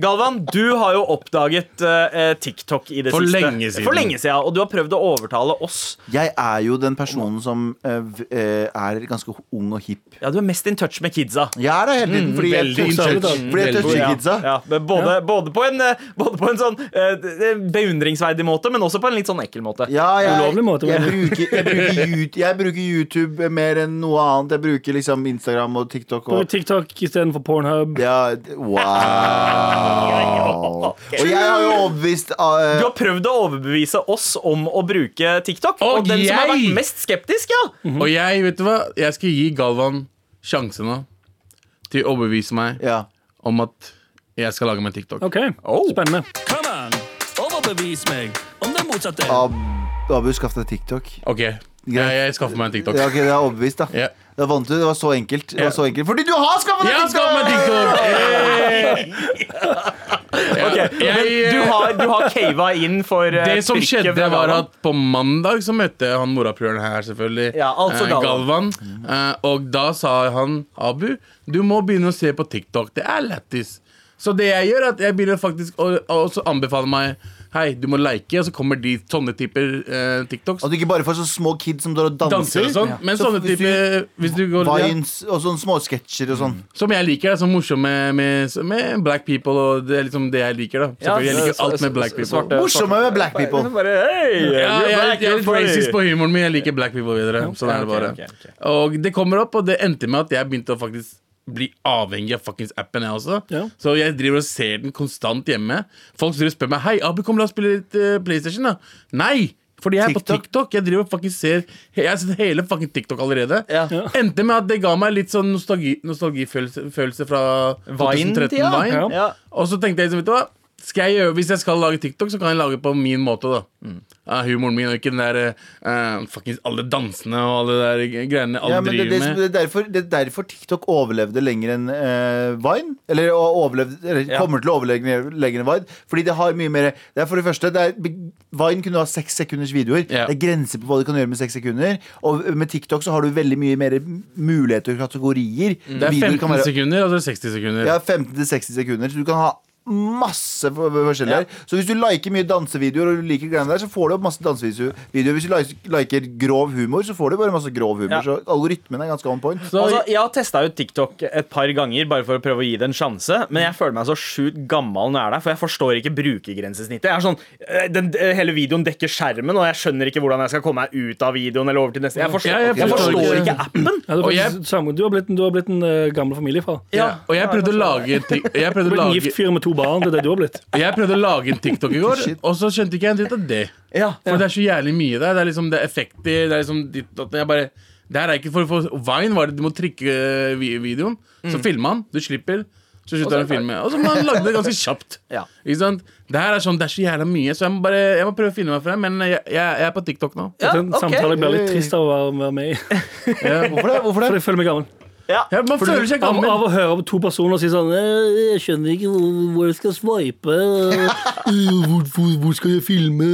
Galvan, du har jo oppdaget eh, eh, TikTok i det For siste. lenge siden. For lenge siden. Og du har prøvd å overtale oss. Jeg er jo den personen som eh, v- eh, er ganske ung og hipp. Ja, du er mest in touch med kidsa. Jeg er det hele tiden, fordi jeg veldig toucher- in touch. fordi jeg Veldig, toucher kidsa. Ja, men både, både, på en, eh, både på en sånn eh, beundringsverdig måte, men også på en litt sånn ekkel måte. Ja, jeg, Ulovlig måte, jeg, men- bruker, jeg, bruker YouTube, jeg bruker YouTube mer enn noe annet. Jeg bruker liksom Instagram og TikTok. Bruk Og, TikTok istedenfor Pornhub. ja, d- wow. Og jeg har jo overbevist eh, Du har prøvd å overbevise oss om å bruke TikTok. Og, Og den som jeg! har vært mest skeptisk, ja. Mhm. Og jeg, vet du hva? Jeg skal gi Galvan sjansen nå til å overbevise meg ja. om at jeg skal lage meg TikTok. OK, spennende. Come on, overbevis meg om det motsatte. Ab Abu, skaff deg TikTok. Ok, jeg, jeg skaffer meg en TikTok. Ja, ok, Det er overbevist, da. Ja. Da vant du. Det var så enkelt. Det var så enkelt. Fordi du har skaffet deg Jeg skaffer meg TikTok! Eh. Ok, Jeg, Du eh, har, du har cava inn for eh, det som trykket skjedde fra var Galvan. at På mandag så møtte jeg han morapuleren her, selvfølgelig. Ja, altså eh, Galvan. Galvan. Eh, og da sa han Abu, du må begynne å se på TikTok. Det er lættis. Så det jeg gjør, er at jeg begynner faktisk å, å også anbefale meg Hei, du må like, og så kommer de sånne typer eh, TikToks. At du ikke bare får så små kids som drar og danser. Danser og sånn. Ja. Men Så sånne hvis du- typer Hvis du går ja, Vines og sånne små sketsjer og sånn. Som jeg liker, er sånn morsom med, med, med black people, og det er liksom det jeg liker, da. Ja, Selvfølgelig, jeg liker så- alt så- med black så- people. svarte- Morsomme med black people. Bare, hey, Ja, you're jeg, er- black, jeg er litt you're funny. racist på humoren min. Jeg liker black people videre. Sånn er det ok, bare. ok, ok. Og det kommer opp, og det endte med at jeg begynte å faktisk bli avhengig av fuckings appen, jeg også. Ja. Så jeg driver og ser den konstant hjemme. Folk driver og spør meg Hei, Abu, kom la oss spille litt eh, PlayStation, da. Nei! Fordi jeg er TikTok. på TikTok. Jeg driver og fucking ser Jeg har sett hele fucking TikTok allerede. Ja. Endte med at det ga meg litt sånn nostalgi, nostalgifølelse følelse fra Vine-tida? 2013 Vine. Ja. Og så tenkte jeg liksom, vet du hva skal jeg gjøre, Hvis jeg skal lage TikTok, så kan jeg lage på min måte, da. Av humoren min, og ikke den der eh, fucking alle dansene og alle de der greiene alle Ja, men det, driver det, med. det, er derfor, det er derfor TikTok overlevde lenger enn eh, Vine. Eller, å- overlevde, eller kommer til å overleve lenger- lenger enn Vine. Fordi det har mye mer Det er for det første det er, Vine kunne ha seks sekunders videoer. Ja. Det er grenser på hva du kan gjøre med seks sekunder. Og med TikTok så har du veldig mye mer muligheter og kategorier. Det er 15 Videoer kan være- sekunder, og så er det 60 sekunder. Ja, 15-60 sekunder. Så du kan ha masse for- for- forskjellig her. Så hvis du liker mye dansevideoer, og du liker greiene der, så får du opp masse dansevideoer. Hvis du li- liker grov humor, så får du bare masse grov humor. Ja. Så algoritmen er ganske on point. Så, altså, jeg har testa ut TikTok et par ganger bare for å prøve å gi det en sjanse. Men jeg føler meg så sjukt gammel når jeg er der, for jeg forstår ikke brukergrensesnittet. Jeg er sånn, eh, den, eh, Hele videoen dekker skjermen, og jeg skjønner ikke hvordan jeg skal komme meg ut av videoen. Eller over til neste Jeg forstår, Ja, jeg jeg forstår forstår ikke. ikke appen. Ja, det er Og faktisk samme- du har blitt en, du har blitt en eh, gammel familiefar. Du ja. Og jeg prøvde å altså- lage ti- har jeg prøvde å blitt en lage, gift fyr med to barn. Det er det du har blitt. jeg prøvde å lage en TikTok i går, Shit. og så skjønte ikke jeg en dritt av det. Ja. For det er så jævlig mye der. Det er liksom det er effekter, det er liksom ditt datt. Jeg bare Det her er ikke for, for Vine var det du må trykke vi- videoen, så filmer han, du slipper. Så slutter han å filme. Og så må han lage det ganske kjapt. Ja. Ikke sant? Det her er sånn, det er så jævla mye, så jeg må, bare, jeg må prøve å finne meg frem. Men jeg, jeg, jeg er på TikTok nå. Ja, Det er en ok. samtale jeg blir litt trist av å være- være med i. Hvorfor det? Hvorfor For det? jeg føler meg gammel. Ja, man føler seg Av, gammel. av å høre på to personer si sånn «Eh, Jeg skjønner ikke hvor, hvor jeg skal sveipe. Eh, Hvor, hvor, hvor skal jeg filme?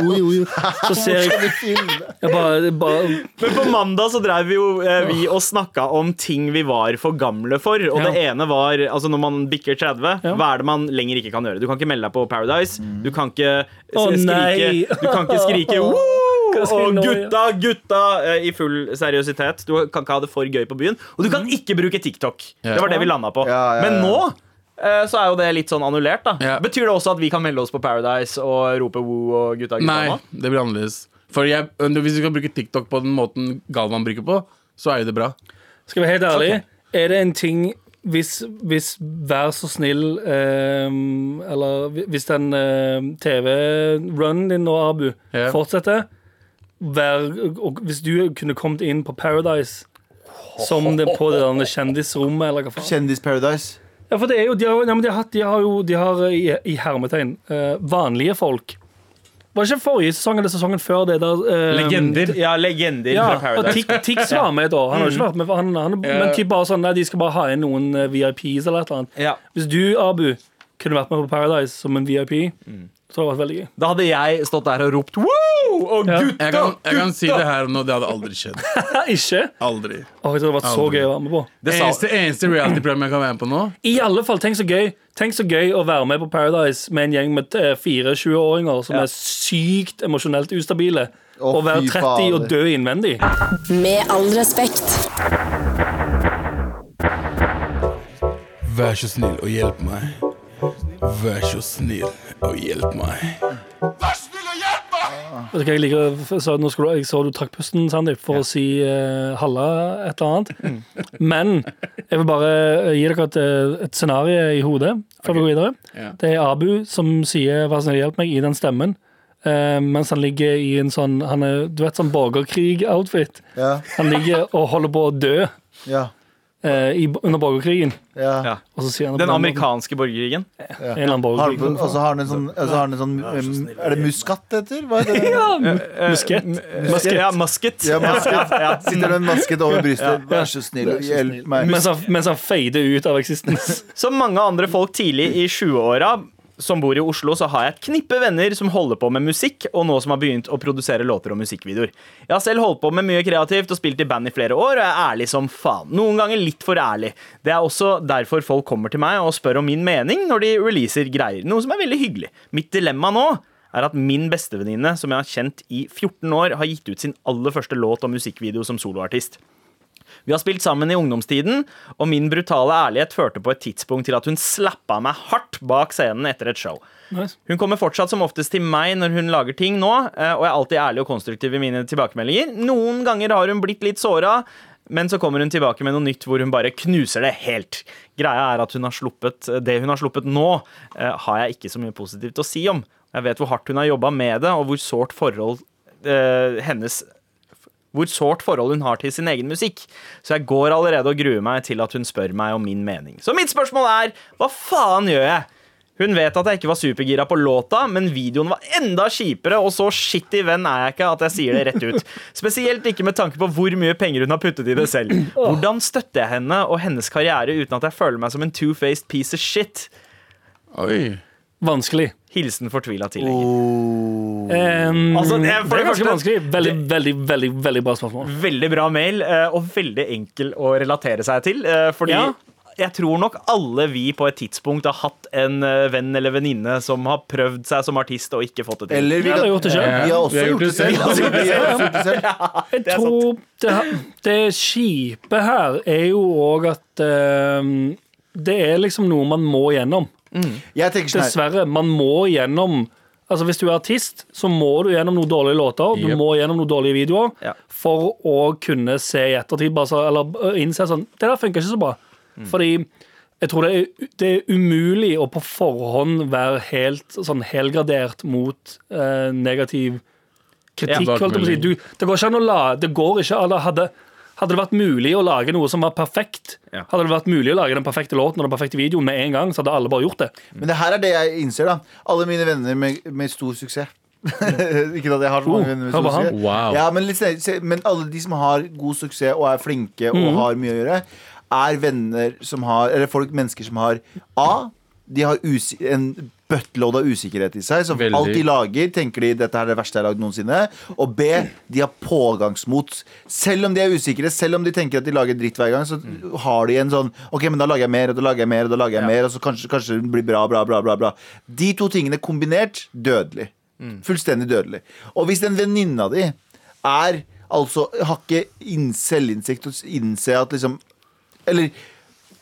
Oi, oi, oi. Så ser jeg, jeg bare, det er bare Men på mandag så drev vi jo eh, vi og snakka om ting vi var for gamle for. Og Ja. det ene var altså når man bikker 30, Ja. Mm. hva er det man lenger ikke kan gjøre? Du kan ikke melde deg på Paradise. Du kan ikke s- Å, nei. skrike Du kan ikke skrike «Woo!» Hva skal jeg og nå gjøre? gutta, gutta eh, i full seriøsitet. Du kan ikke ha det for gøy på byen. Og du kan Mm. ikke bruke TikTok. Ja. Det var det vi landa på. Ja, ja, ja. Men nå eh, så er jo det litt sånn annullert. da Ja. Betyr det også at vi kan melde oss på Paradise og rope woo og gutta gutta? Nei, nå? det blir annerledes. For jeg, Hvis du skal bruke TikTok på den måten Galvan bruker på, så er jo det bra. Skal jeg være helt ærlig, er det en ting hvis, hvis Vær så snill ehm, Eller hvi- hvis den ehm, TV-runnen din nå, Abu, Ja. fortsetter vær, og Hvis du kunne kommet inn på Paradise som det på det der kjendisrommet, eller hva faen. Kjendis Paradise. Ja, for det er jo, de har, jo- ja, men de har, hatt- de har jo de har, eh, i, i hermetegn eh, vanlige folk. Var det ikke forrige sesong eller sesongen før det der ehm, Legender. Ja, legender ja, fra og Paradise. Tix, Tix var med da. Han har jo ikke vært med, for han, han, men typ bare sånn, nei, de skal bare ha inn noen eh, VIPs eller et eller annet. Ja. Hvis du, Abu, kunne vært med på Paradise som en VIP, Mm. så hadde det vært veldig gøy. Da hadde jeg stått der og ropt woo! Og Ja. gutta, Jeg kan, jeg kan si gutta! det her og nå, det hadde aldri skjedd. Hæ, ikke? Aldri. Åh, jeg tror det hadde vært så Aldri. gøy å være med på. Det sa- Eneste, eneste reality-program jeg kan være med på nå, I alle fall, tenk så gøy Tenk så gøy å være med på Paradise med en gjeng med eh, fire 20-åringer som er sykt emosjonelt ustabile. Å, og være fy 30 og fader. dø innvendig. Med all respekt. Vær så snill og hjelp meg. Vær så snill og hjelp meg. Vet du hva jeg liker? Så nå skulle, du- jeg så du trakk pusten, Sandeep, for å si eh, halla et eller annet. Men jeg vil bare gi dere et, eh, et scenario i hodet før vi går videre. Ja. Det er Abu som sier 'vær så snill, hjelp meg' i den stemmen. eh, mens han ligger i en sånn han er, Du vet sånn borgerkrig-outfit. Ja, Han ligger og holder på å dø ja, eh, i, under borgerkrigen. ja. Ja. Og så sier han Den på amerikanske borgerkrigen. En eller annen Har, borgerkrig. og så har han en sånn, og så har han en sånn um, Er det muskatt det heter? Hva heter det? Ja, muskett. Muskett. Ja, musket. Ja, musket. Ja, ja. Sitter med en maske over brystet. Vær så snill, hjelp meg. Mens han, mens han fader ut av eksistens. Som mange andre folk tidlig i 20-åra som bor i Oslo, så har jeg et knippe venner som holder på med musikk, og nå som har begynt å produsere låter og musikkvideoer. Jeg har selv holdt på med mye kreativt og spilt i band i flere år, og jeg er ærlig som faen. Noen ganger litt for ærlig. Det er også derfor folk kommer til meg og spør om min mening når de releaser greier, noe som er veldig hyggelig. Mitt dilemma nå er at min bestevenninne, som jeg har kjent i 14 år, har gitt ut sin aller første låt og musikkvideo som soloartist. Vi har spilt sammen i ungdomstiden, og min brutale ærlighet førte på et tidspunkt til at hun slappa meg hardt bak scenen etter et show. Nice. Hun kommer fortsatt som oftest til meg når hun lager ting nå, eh, og jeg er alltid ærlig og konstruktiv i mine tilbakemeldinger. Noen ganger har hun blitt litt såra, men så kommer hun tilbake med noe nytt hvor hun bare knuser det helt. Greia er at hun har sluppet eh, det hun har sluppet nå, eh, har jeg ikke så mye positivt å si om. Jeg vet hvor hardt hun har jobba med det, og hvor sårt forhold eh, hennes hvor sårt forhold hun har til sin egen musikk. Så jeg går allerede og gruer meg til at hun spør meg om min mening. Så mitt spørsmål er, hva faen gjør jeg? Hun vet at jeg ikke var supergira på låta, men videoen var enda kjipere, og så shitty venn er jeg ikke at jeg sier det rett ut. Spesielt ikke med tanke på hvor mye penger hun har puttet i det selv. Hvordan støtter jeg henne og hennes karriere uten at jeg føler meg som en two-faced piece of shit? Oi. Vanskelig. Hilsen fortvila tillegger. Em, Altså, det det er er for det Mm, ganske første- vanskelig. Veldig, veldig, veldig veldig bra spørsmål. Veldig bra mail, eh, og veldig enkel å relatere seg til. eh, Fordi Ja. jeg tror nok alle vi på et tidspunkt har hatt en eh, venn eller venninne som har prøvd seg som artist og ikke fått det til. Eller vi, Ja, du har gjort det selv. vi har også gjort det selv. Altså, vi har også gjort det selv. Jeg er tror det, det kjipe her er jo òg at em, det er liksom noe man må gjennom. Jeg tenker sånn her Dessverre. Man må gjennom Altså Hvis du er artist, så må du gjennom noen dårlige låter Du Yep. må gjennom noen dårlige videoer Ja. for å kunne se i ettertid bare så, Eller ø, innse sånn Det der funker ikke så bra. Mm. Fordi jeg tror det er, det er umulig å på forhånd være helt sånn helgradert mot eh, negativ kritikk. Ja, holdt jeg på å si. du, det går ikke an å la Det går ikke an å- hadde, hadde det vært mulig å lage noe som var perfekt, Ja. hadde det vært mulig å lage den perfekte låten og den perfekte videoen med en gang, så hadde alle bare gjort det. Men det her er det jeg innser, da. Alle mine venner med, med stor suksess. ikke at jeg har så mange Oh, venner med hør stor på han. suksess. Wow. Ja, men, litt, snill- se- men alle de som har god suksess og er flinke og har mye å gjøre, er venner som har Eller folk, mennesker som har A. De har usi en buttload av usikkerhet i seg. Som Veldig. alt de lager, tenker de dette er det verste jeg har lagd noensinne. Og B. De har pågangsmot. Selv om de er usikre, selv om de tenker at de lager dritt hver gang, så har de en sånn OK, men da lager jeg mer, og da lager jeg mer, og da lager jeg mer, og så kanskje, kanskje det blir bra, bra, bra, bra, bra. De to tingene kombinert dødelig. Fullstendig dødelig. Og hvis den venninna di er altså har ikke inn- selvinnsikt og innse at liksom Eller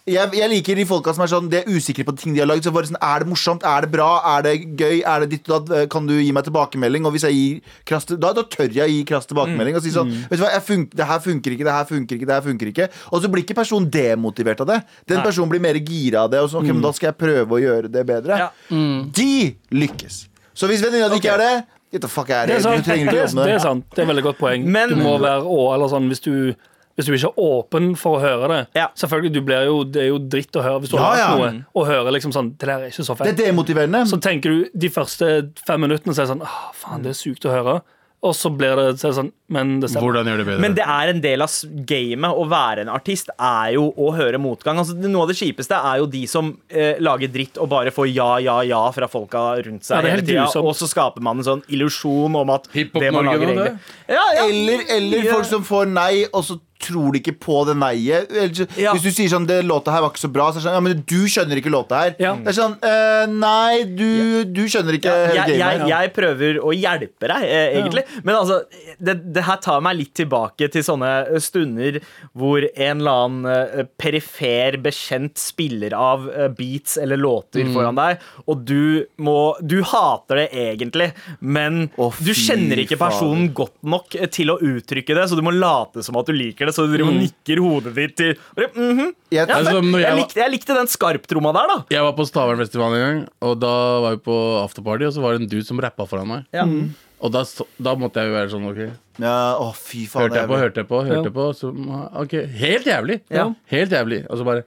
jeg, jeg liker de folka som er sånn De er usikre på ting de har lagd. Så bare sånn, er det morsomt? Er det bra? Er det gøy? Er det ditt og datt? Kan du gi meg tilbakemelding? Og hvis jeg gir krass til- da, da tør jeg å gi krass tilbakemelding og si sånn Mm. Vet du hva, jeg fun det her funker ikke, det her funker ikke, det her funker ikke. Og så blir ikke personen demotivert av det. Den personen blir mer gira av det. Og sånn, Mm. ok, men da skal jeg prøve å gjøre det bedre. Ja. De lykkes. Så hvis venninna di ikke er det Get the fuck out Det er of here. sant. Du trenger ikke Altså, Det, jobbe med det er sant. Det er et veldig godt poeng. Men- du må være å, eller sånn, hvis, du, hvis du ikke er åpen for å høre det Ja. Selvfølgelig, du blir jo, Det er jo dritt å høre hvis du Ja, har hørt ja. noe og hører liksom sånn Det der er ikke så Det fett. er demotiverende. Så tenker du de første fem minuttene så er det sånn Åh, faen, det er sykt å høre. Og så blir det, så er det sånn Men det stemmer. Hvordan gjør det bedre? Men det er en del av s- gamet å være en artist, er jo å høre motgang. Altså, det- noe av det kjipeste er jo de som eh, lager dritt og bare får ja, ja, ja fra folka rundt seg Ja, det er hele helt tida. grusomt. Og så skaper man en sånn illusjon om at Hiphop det man Norge lager nå, det? egentlig ja, ja. Eller, eller Ja. folk som får nei, og så tror de ikke på det neiet. Eller så- Ja. Hvis du sier sånn 'det låta her var ikke så bra', så er det sånn 'ja, men du skjønner ikke låta her'. Ja. Det er sånn eh, Nei, du, du skjønner ikke hele jeg, jeg, eh, gamet. jeg prøver å hjelpe deg, eh, egentlig. Men altså, det, det her tar meg litt tilbake til sånne eh, stunder hvor en eller annen eh, perifer bekjent spiller av eh, beats eller låter foran deg, og du må Du hater det egentlig, men Å, fy du kjenner ikke personen fader. godt nok eh, til å uttrykke det, så du må late som at du liker det, så du driver og nikker hodet ditt til Mhm. Jeg- ja, Altså, men når jeg jeg, var- likte, jeg likte den skarptromma der, da. Jeg var på Stavernfestivalen en gang, og da var vi på afterparty, og så var det en dude som rappa foran meg. Ja. Og da, så- da måtte jeg jo være sånn, ok. Ja, å, fy faen. Hørte jeg på, hørte jeg på, hørte Ja. jeg på. Så, ok, Helt jævlig. Ja. Helt jævlig. Og så bare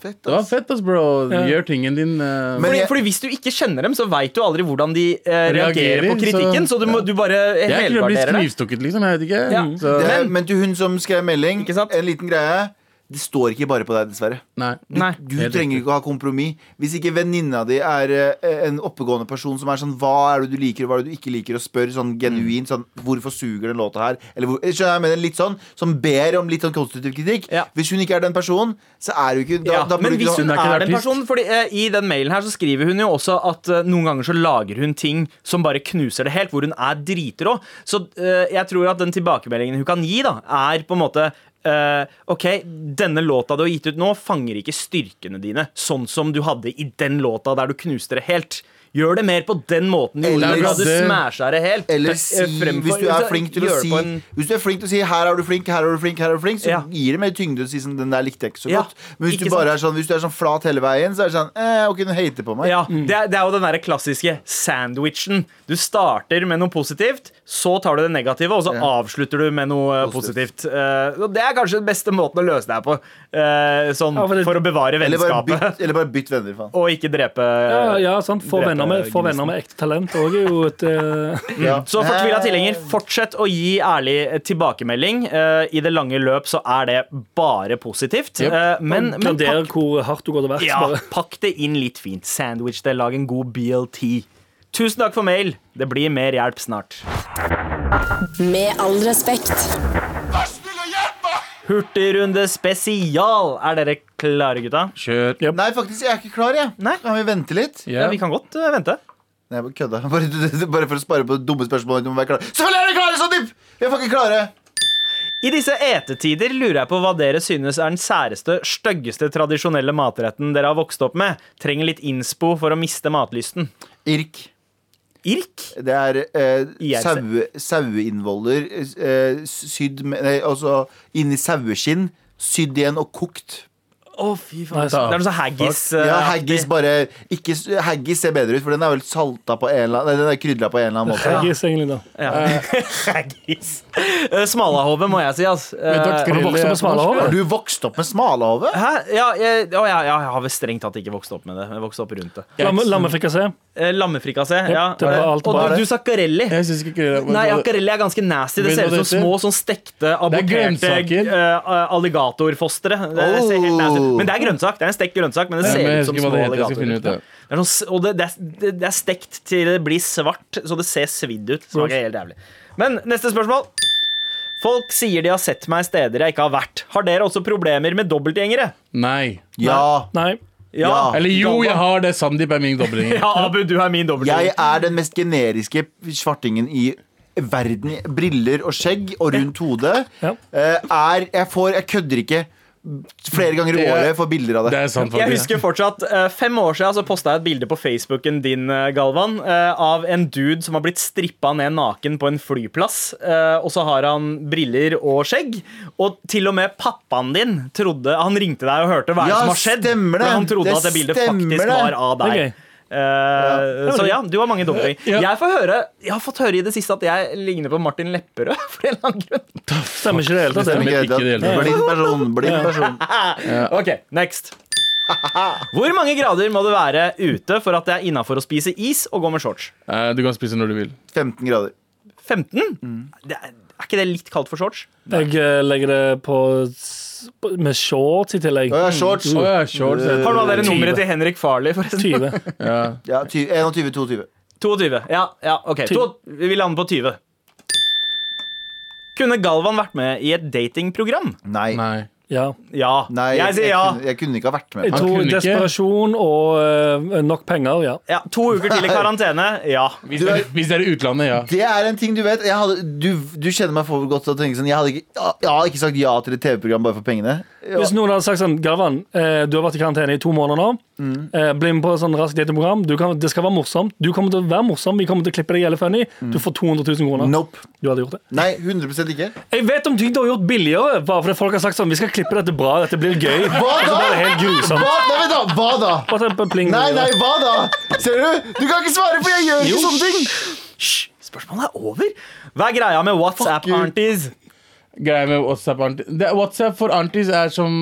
Fett, Det var ass. fett, ass, bro. Ja. Gjør tingen din. eh, Men Fordi, jeg- fordi Hvis du ikke kjenner dem, så veit du aldri hvordan de eh, reagerer, Reagerer, på kritikken. Så, så- du, må, du bare jeg kunne blitt helgarderer deg. knivstukket, liksom. Jeg vet ikke. Ja. Så, Det, Men- men til hun som skrev melding, Ikke sant? en liten greie. Det står ikke bare på deg, dessverre. nei. Nei. Du Helt trenger riktig. ikke å ha kompromiss. Hvis ikke venninna di er eh, en oppegående person som er sånn Hva er det du liker, og hva er det du ikke liker, og spør sånn genuint sånn Hvorfor suger den låta her? Eller hvor, skjønner jeg, jeg mener litt sånn Som ber om litt sånn konstruktiv kritikk. Ja. Hvis hun ikke er den personen, så er du ikke da, Ja, da burde men du hvis ikke hun Hun er ikke en er den artist. personen fordi eh, I den mailen her så skriver hun jo også at eh, noen ganger så lager hun ting som bare knuser det helt, hvor hun er dritrå. Så eh, jeg tror at den tilbakemeldingen hun kan gi, da er på en måte eh, OK, denne låta du har gitt ut nå, fanger ikke styrkene dine sånn som du hadde i den låta der du knuste det helt. Gjør det mer på den måten du gjorde Eller- da du smasha det helt. Eller Eh, si, fremfor- hvis du er flink til å gjør det si på en- Hvis du er flink til å si 'her er du flink', 'her er du flink', her er du flink så Ja. gir det mer tyngde å si sånn 'den der likte jeg ikke så Ja, godt'. Men hvis ikke du bare er sånn, hvis du er sånn flat hele veien, så er det sånn eh, 'ok, hun hater på meg'. Ja, det, er, det er jo den der klassiske sandwichen. Du starter med noe positivt, så tar du det negative, og så avslutter du med noe eh, positivt. Eh, og det er kanskje den beste måten å løse det her på. eh, sånn Ja, for det- for å bevare Eller, bare vennskapet bytt, eller bare bytt venner, faen. og ikke drepe eh, Ja, ja, sant. Få drepe venner, med- få gnisten. venner med ekte talent òg er jo et eh, Ja. Mm. Så fortvila tilhenger, fortsett å gi ærlig eh, tilbakemelding. Eh, I det lange løp så er det bare positivt. Eh, men, men Gradere pakk, hvor hardt du går til verks. ja, bare. pakk det inn litt fint. Sandwich det, lag en god BLT. Tusen takk for mail. Det blir mer hjelp snart. Med all respekt. Hurtigrunde spesial. Er dere klare, gutta? Kjør. Nei, faktisk, jeg er ikke klar, jeg. Nei. Kan vi vente litt? Ja. Ja, Vi kan godt eh, vente. Nei, jeg bare kødda. Bare, bare for å spare på dumme spørsmål. Du må være klar. Selvfølgelig er dere klare, så dypp! Vi er fucking klare! I disse etetider lurer jeg på hva dere synes er den særeste, styggeste tradisjonelle matretten dere har vokst opp med. Trenger litt innspo for å miste matlysten. Irk. Irk? Det er eh, IRC. saue- saueinnvoller eh, sydd med nei, Altså inni saueskinn. Sydd igjen og kokt. Å, fy Nei, faen. det er noe sånn haggis. eh, Ja, haggis bare ikke, s- Haggis ser bedre ut, for den er vel salta på en eller annen Nei, den er krydra på en eller annen måte. Haggis, egentlig, da. Ja. haggis. Eh, Smalahove, må jeg si, ass. Eh, Har du vokst opp på Svalahove? Har du vokst opp med smalahove? Hæ? Ja, jeg, å, ja, ja, jeg har vel strengt tatt ikke vokst opp med det. Jeg vokste opp rundt det. Lamme- Lammefrikassé. Eh, Lammefrikassé. Ja. det var alt Og bare du, det. du sa karelli. Jeg syns ikke det. Nei, akvarell er ganske nasty. Det Vet du ser hva ut det som heter? små sånn stekte, aborterte grønnsaker. eh, alligatorfostre. Det ser helt nasty ut. Men det er grønnsak. Det er en stekt grønnsak, men det Ja, ser men jeg ut som husker hva små det heter, jeg skal finne ut alligatorer. det. Det er, sånn, s- og det, det, er, det, det er stekt til det blir svart, så det ser svidd ut. Smaker helt jævlig. Men neste spørsmål. Folk sier de har sett meg steder jeg ikke har vært. Har dere også problemer med dobbeltgjengere? Nei. Ja. Nei. Ja. Eller jo, jeg har det. Sandeep er min doblinger. Ja, Abu, du er min dobbeltgjenger. Jeg er den mest generiske svartingen i verden. Briller og skjegg og rundt hodet. Ja. Eh, Er Jeg får Jeg kødder ikke. Flere ganger i Det er- året får bilder av Det det. er sant, Jeg faktisk. husker fortsatt eh, Fem år siden så posta jeg et bilde på Facebooken din, eh, Galvan, eh, av en dude som har blitt strippa ned naken på en flyplass. eh, Og så har han briller og skjegg. Og til og med pappaen din trodde Han ringte deg og hørte hva er det Ja, som har skjedd. stemmer det. Men han trodde Det at det bildet stemmer faktisk det. var av deg. Det er gøy. Eh, Så ja, du har mange dobbeltgjeng. Ja. Jeg, får høre, jeg har fått høre i det siste at jeg ligner på Martin Lepperød. For en eller annen grunn Stemmer ikke det hele tatt. Det det. stemmer. Ikke ikke i det hele tatt. tatt. Blind person. Blind person. Ok, next Hvor mange grader må det være ute for at det er innafor å spise is og gå med shorts? Eh, Du kan spise når du vil. 15 grader. 15? Det er, er ikke det litt kaldt for shorts? Jeg eh, legger det på s- på- med shorts i tillegg. Å ja, shorts. Å ja, shorts. Har noen av dere 20. nummeret til Henrik Farley, forresten? 20. Eh, Ja. Ja, 21-22. 22. Ja, ja ok. Ty- To, vi lander på 20. Kunne Galvan vært med i et datingprogram? Nei. Nei. Ja. Ja. Nei jeg sier ja. kunne, jeg kunne ikke ha vært med. Jeg Han tror kunne ikke. desperasjon og eh, nok penger, ja. ja. To uker til i karantene. Ja. Hvis det, er, hvis det er i utlandet, ja. Det er en ting du vet. Jeg hadde, du, du kjenner meg for godt til å tenke sånn. Jeg hadde ikke, ja, jeg hadde ikke sagt ja til et TV-program bare for pengene. Ja. Hvis noen hadde sagt sånn Galvan, eh, du har vært i karantene i to måneder nå. Mm. Eh, Bli med på et sånn raskt datingprogram. Du kan- Det skal være morsomt. Du kommer til å være morsom. Vi kommer til å klippe deg jævlig funny. Du får 200 000 kroner. Mm. Nope. Du hadde gjort det. Nei, 100 ikke. Jeg vet om ting du har gjort billigere, bare fordi folk har sagt sånn Vi skal klippe dette bra, dette blir gøy. Og Hva så da? bare det helt grusomt. Hva, nei, vent da, hva da? Bare ta- pling. Nei, nei, hva da? Ser du? Du kan ikke svare, for jeg gjør ikke sånne ting. Hysj! Spørsmålet er over. Hva er greia med you. WhatsApp-aunties? Greia med WhatsApp, aunties. Det, WhatsApp for aunties er som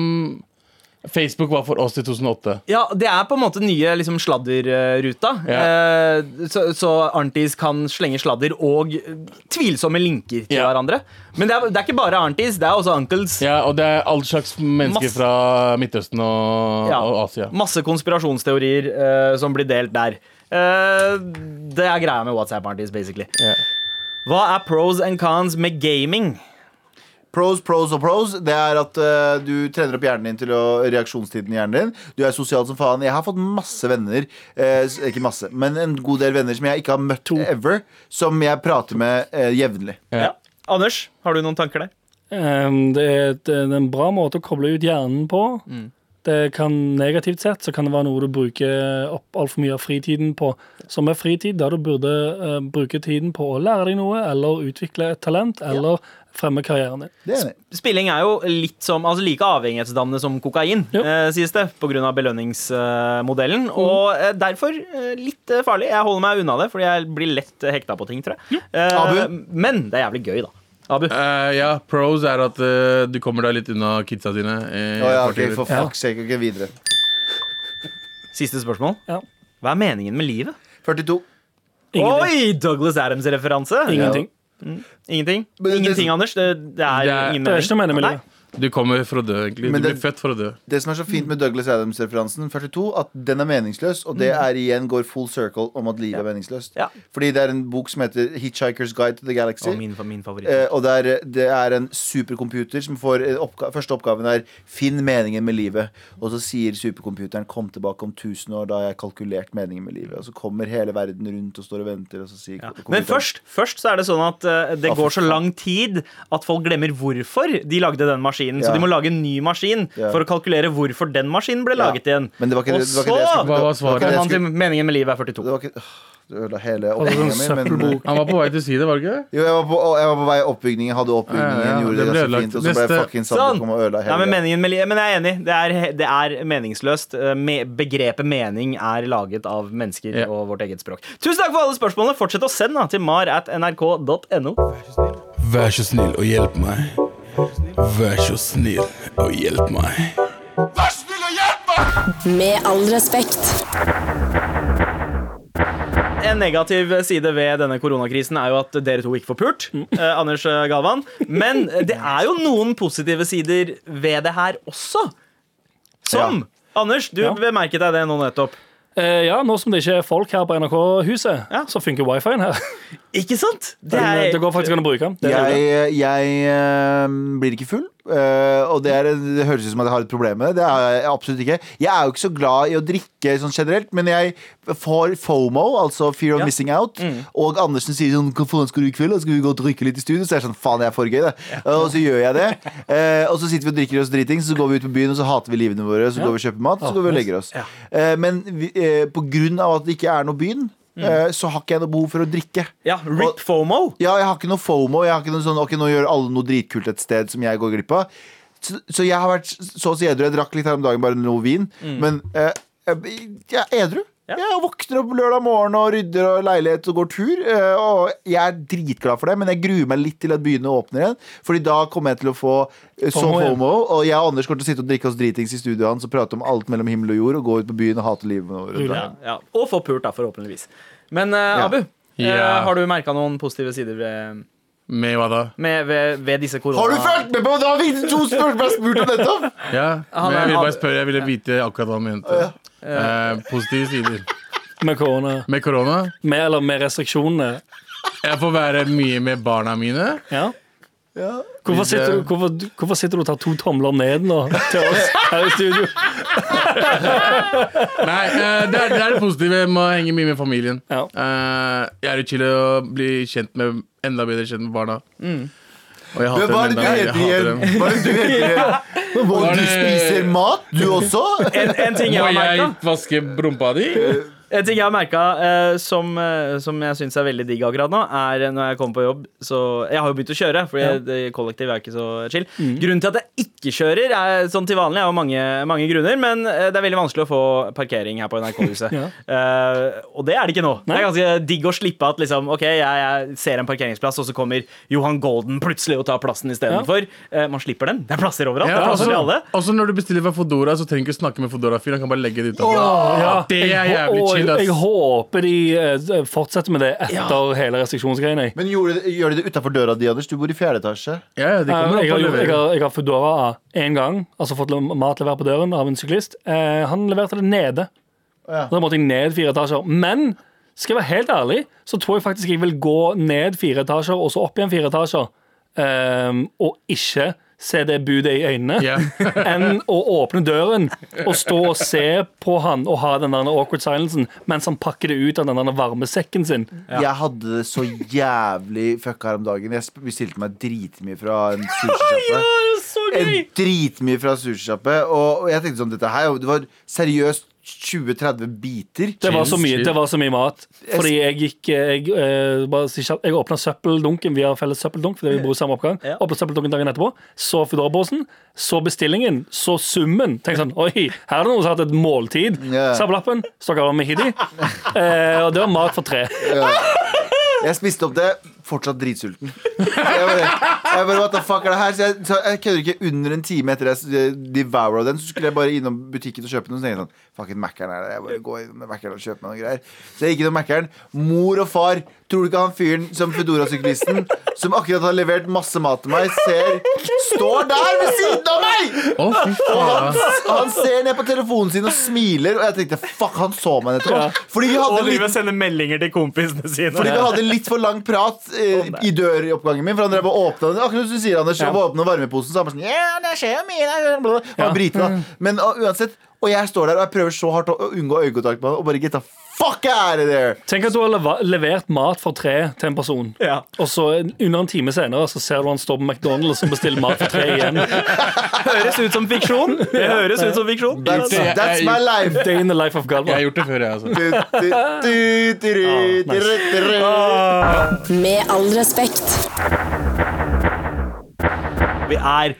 Facebook var for oss i 2008. Ja, det er på en måte nye liksom, sladderruta. Eh, så, så Arntis kan slenge sladder og eh, tvilsomme linker til Ja. hverandre. Men det er, det er ikke bare Arntis, det er også Uncles. Ja, Og det er all slags mennesker Masse- fra Midtøsten og, Ja. og Asia. Masse konspirasjonsteorier eh, som blir delt der. Eh, det er greia med WhatsApp-Arntis, basically. Ja. Hva er pros and cons med gaming? Pros, pros og pros. Det er at eh, du trener opp hjernen din til å, reaksjonstiden i hjernen din. Du er sosial som faen. Jeg har fått masse venner. eh, s- ikke masse, men en god del venner som jeg ikke har møtt ever. Som jeg prater med eh, jevnlig. Ja. Ja. Anders, har du noen tanker der? eh, Ehm, Mm. det, er, et- det er en bra måte å koble ut hjernen på. det kan negativt sett så kan det være noe du bruker opp altfor mye av fritiden på, som er fritid der du burde eh, bruke tiden på å lære deg noe, eller utvikle et talent, eller fremme karrieren din. Det er enig. Spilling er jo litt som, altså like avhengighetsdannende som kokain, Jo. eh, sies det, pga. belønningsmodellen. Mm. Og eh, derfor eh, litt eh, farlig. Jeg holder meg unna det, fordi jeg blir lett eh, hekta på ting, tror jeg. Eh, Abu? Men det er jævlig gøy, da. Abu. Eh, ja, pros er at eh, du kommer deg litt unna kidsa dine. eh, Å ja, ok, fortere. for fuck's sake. Ok, videre. Siste spørsmål. Ja. Hva er meningen med livet? 42. Ingenting. Oi! Douglas Adams-referanse. Ingenting. Ingenting, Men det- Ingenting Anders. Det, det er Det er- ingen Det er ikke noe mening med Nei. livet. Du kommer for å dø, egentlig. Men du den- blir født for å dø. Det som er så fint med Douglas Adams-referansen, 42, at den er meningsløs, og det er igjen går full circle om at livet er meningsløst. Mm. Ja. Fordi det er en bok som heter Hitchhiker's Guide to the Galaxy. Å, min, min favoritt. Eh, og der, eh, det er en supercomputer som får eh, oppga Første oppgaven er 'Finn meningen med livet'. Og så sier supercomputeren 'Kom tilbake om 1000 år, da har jeg kalkulert meningen med livet'. Og så kommer hele verden rundt og står og venter, og så sier Ja. computeren- Men først, først så er det sånn at eh, det Ja, for går så faen. lang tid at folk glemmer hvorfor de lagde den maskinen. Ja. Så de må lage en ny maskin Ja. for å kalkulere hvorfor den maskinen ble Ja. laget igjen. Men det var ikke Og det, det var ikke det jeg skulle- så Hva var det var ikke svaret? det kommer jeg han til skulle- meningen med livet er 42. Det var ikke Åh, Det ødela hele Altså, sånn oppbygningen min. Men, søppelbok. Han var på vei til å si det, var det ikke? jo, jeg var, på, å, jeg var på vei i oppbygningen, jeg hadde oppbygningen, Ja, ja, gjorde det det ble ganske ødelagt. fint, og så ble jeg Neste. fucking Sånn. Sandvik kom og ødela Nei, men, hele meningen med livet, men jeg er enig. Det er, he- det er meningsløst. Eh, Me, begrepet mening er laget av mennesker Ja. og vårt eget språk. Tusen takk for alle spørsmålene. Fortsett å sende da, til mar at nrk.no. Vær så snill og hjelp meg. Vær så snill og hjelp meg. Med all respekt. En negativ side ved denne koronakrisen er jo at dere to ikke får pult. eh, Anders eh, Galvan. Men eh, det er jo noen positive sider ved det her også. Som Anders, du Ja. bemerket deg det nå nettopp. Eh, ja, nå som det ikke er folk her på NRK-huset, Ja. så funker wifien her. Ikke sant? Det Den, eh, er, det går faktisk an å bruke den. Det er Jeg, det. jeg eh, blir ikke full, eh, og det, er, det høres ut som at jeg har et problem med det. Det er jeg absolutt ikke. Jeg er jo ikke så glad i å drikke sånn generelt, men jeg får FOMO, altså fear of Ja. missing out. Mm. Og Andersen sier sånn Hva faen skal du i kveld? da? Skal vi gå og drikke litt i studio? Så er jeg sånn Faen, jeg er for gøy, det. Og så gjør jeg det. Eh, og så sitter vi og drikker oss dritings, så går vi ut på byen, og så hater vi livene våre, så går vi og kjøper mat, og så går vi og legger oss. Eh, men vi, eh, på grunn av at det ikke er noe byen, Mm. eh, så har ikke jeg noe behov for å drikke. ja, Og- Rip FOMO. ja, jeg har ikke noe FOMO. Jeg har ikke noe sånn, ok, Nå gjør alle noe dritkult et sted som jeg går glipp av. Så, så jeg har vært så å si edru. Jeg drakk litt her om dagen, bare noe vin. Mm. Men eh, jeg jeg er edru. Ja. Jeg våkner opp lørdag morgen og rydder og leilighet og går tur. eh, Og jeg er dritglad for det, men jeg gruer meg litt til at byene åpner igjen. Fordi da kommer jeg til å få eh, så FOMO, ja. FOMO. Og jeg og Anders kommer til å sitte og drikke oss dritings i studioet hans og prate om alt mellom himmel og jord og gå ut på byen og hate livet vårt. Ja, ja. Og få pult, da, forhåpentligvis. Men eh, Ja. Abu, eh, Ja. har du merka noen positive sider ved, Med hva da? med, ved, ved disse korona... Har du fulgt med på? Det var vi to spørsmål jeg spurte om nettopp! Ja, Han men er- jeg ville han- bare spørre, jeg ville vite akkurat hva han mente. Eh, positive sider. Med korona. Med korona. Med eller med restriksjonene. Jeg får være mye med barna mine. Ja. Hvorfor, sitter du, hvorfor, hvorfor sitter du og tar to tomler ned nå til oss her i studio? Nei, eh, det, er, det er det positive med å henge mye med familien. Ja. Eh, jeg er jo chill å bli kjent med enda bedre kjent med barna. Mm. Og jeg Men hater hva er dem det enda. Jeg du heter hater igjen? dem. Hva er det du heter igjen? Må Var du det- spiser mat, du også? En, en ting jeg Må har jeg merka. vaske rumpa di? En ting jeg har merka som, eh, som jeg syns er veldig digg akkurat nå, er eh, når jeg kommer på jobb så Jeg har jo begynt å kjøre, for kollektiv er ikke så chill. Grunnen til at jeg ikke kjører, er sånn til vanlig, er jo mange, mange grunner, men eh, det er veldig vanskelig å få parkering her på NRK-huset. Eh, og det er det ikke nå. Det er ganske digg å slippe at liksom, ok, jeg, jeg ser en parkeringsplass, og så kommer Johan Golden plutselig og tar plassen istedenfor. Eh, man slipper den. Det er plasser overalt. det Ja, er plasser til alle. også, også når du bestiller fra Fodora, så trenger du ikke snakke med Fodora-fyren. Han kan bare legge det utenfor. Ja, Ah, det er jeg hå- jævlig og chill, ass. Jeg håper de eh, fortsetter med det etter hele restriksjonsgreiene. jeg. Men gjorde, gjør de det utafor døra di, Anders? Du bor i fjerde etasje. Ja, ja, de Eh, kommer Jeg har, gjort- opp og jeg leverer. har, jeg har Foodora én gang, altså fått le- mat levert på døren av en syklist. Eh, han leverte det nede. Ja. Da måtte jeg ned fire etasjer. Men skal jeg være helt ærlig, så tror jeg faktisk jeg vil gå ned fire etasjer og så opp igjen fire etasjer, ehm, og ikke se det budet i øynene, Ja. enn å åpne døren og stå og se på han og ha den der awkward silencen mens han pakker det ut av den der varme sekken sin. Jeg hadde det så jævlig fucka her om dagen. Jeg sp- bestilte meg dritmye fra en sushisjappe. så gøy! en dritmye fra sushisjappe. Og og jeg tenkte sånn, dette her Det var seriøst 20-30 biter. Det var, så mye, Chill, det var så mye mat. Fordi jeg gikk Jeg, eh, bare si kjapt, jeg åpna søppeldunken. Vi har felles søppeldunk fordi vi bor i samme oppgang. Ja. Åpnet søppeldunken dagen etterpå. Så Foodora-posen. Så bestillingen. Så summen. Tenk sånn Oi, her er det noen som har hatt et måltid. Ja. Sa på lappen. Stakk av med Hidi. Eh, og det var mat for tre. Jeg spiste opp det, fortsatt dritsulten. Jeg bare, jeg bare, what the fuck er det her? Så jeg, så jeg kødder ikke. Under en time etter jeg devoura den, så skulle jeg bare innom butikken og kjøpe noe. Så tenkte jeg sånn, fucking Mækkern er det. Jeg bare går innom Mækkern og kjøper meg noen greier. Så jeg gikk innom Mækkern. Mor og far, tror du ikke han fyren som Foodora-syklisten, som akkurat har levert masse mat til meg, ser Står der ved siden av meg! Å, fy Og han, faen. han ser ned på telefonen sin og smiler, og jeg tenkte fuck, han så meg nettopp. Fordi vi hadde Og litt driver og sender meldinger til kompisene fordi sine. vi hadde litt for lang prat eh, i døroppgangen min. For han drev og åpna den. Akkurat som du sier, Anders. Ja. Åpna varmeposen, så han bare sånn Ja, det skjer jo mye der», bla, bla, bla. Han var brite, da. Men og, uansett. Og jeg står der og jeg prøver så hardt å å unngå øyekontakt med han og bare get the fuck out of there! Tenk at du har leva- levert mat for tre til en person, Ja. og så en- under en time senere så ser du han står på McDonald's og bestiller mat for tre igjen. Høres ut som fiksjon. Det høres ut som fiksjon. altså. That's, jeg- that's jeg- my life! Day in the life of Jeg har Galvan. gjort det før, jeg, altså. Du, du, du, du, du, du, du, du. Med all respekt. Vi er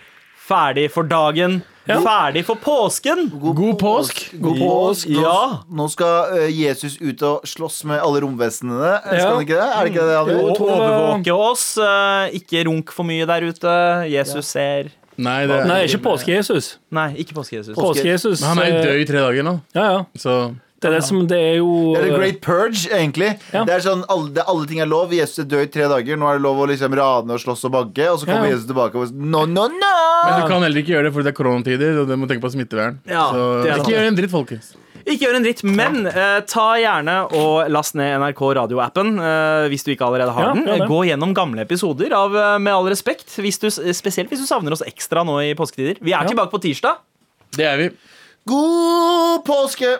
ferdig for dagen. Ferdig for påsken. God påsk. God påsk. Nå, Ja. nå skal eh, Jesus ut og slåss med alle romvesenene. Skal Ja. han ikke det? Er det ikke det han Jo, gjør? to- Overvåke oss. eh, Ikke runk for mye der ute. Jesus ser Nei, det Nei, ikke påske-Jesus. Nei, ikke påske-Jesus. Påske-Jesus. Men han er jo eh, død i tre dager nå, Ja, ja. så Det er det som Det er jo Det er The Great Purge, egentlig. Ja. Det er sånn, alle, det, alle ting er lov. Jesus er død i tre dager. Nå er det lov å liksom rane og slåss og banke. Og så kommer Ja. Jesus tilbake og no, no, no! Men du kan heller ikke gjøre det fordi det er koronatider, og du må tenke på smittevern. Ja, så det er sant. ikke gjør en dritt, folkens. Ikke gjør en dritt, men eh, ta gjerne og last ned NRK radioappen eh, hvis du ikke allerede har Ja, den. gjør det. Gå gjennom gamle episoder av eh, Med all respekt, hvis du, spesielt hvis du savner oss ekstra nå i påsketider. Vi er tilbake på tirsdag. Det er vi. God påske!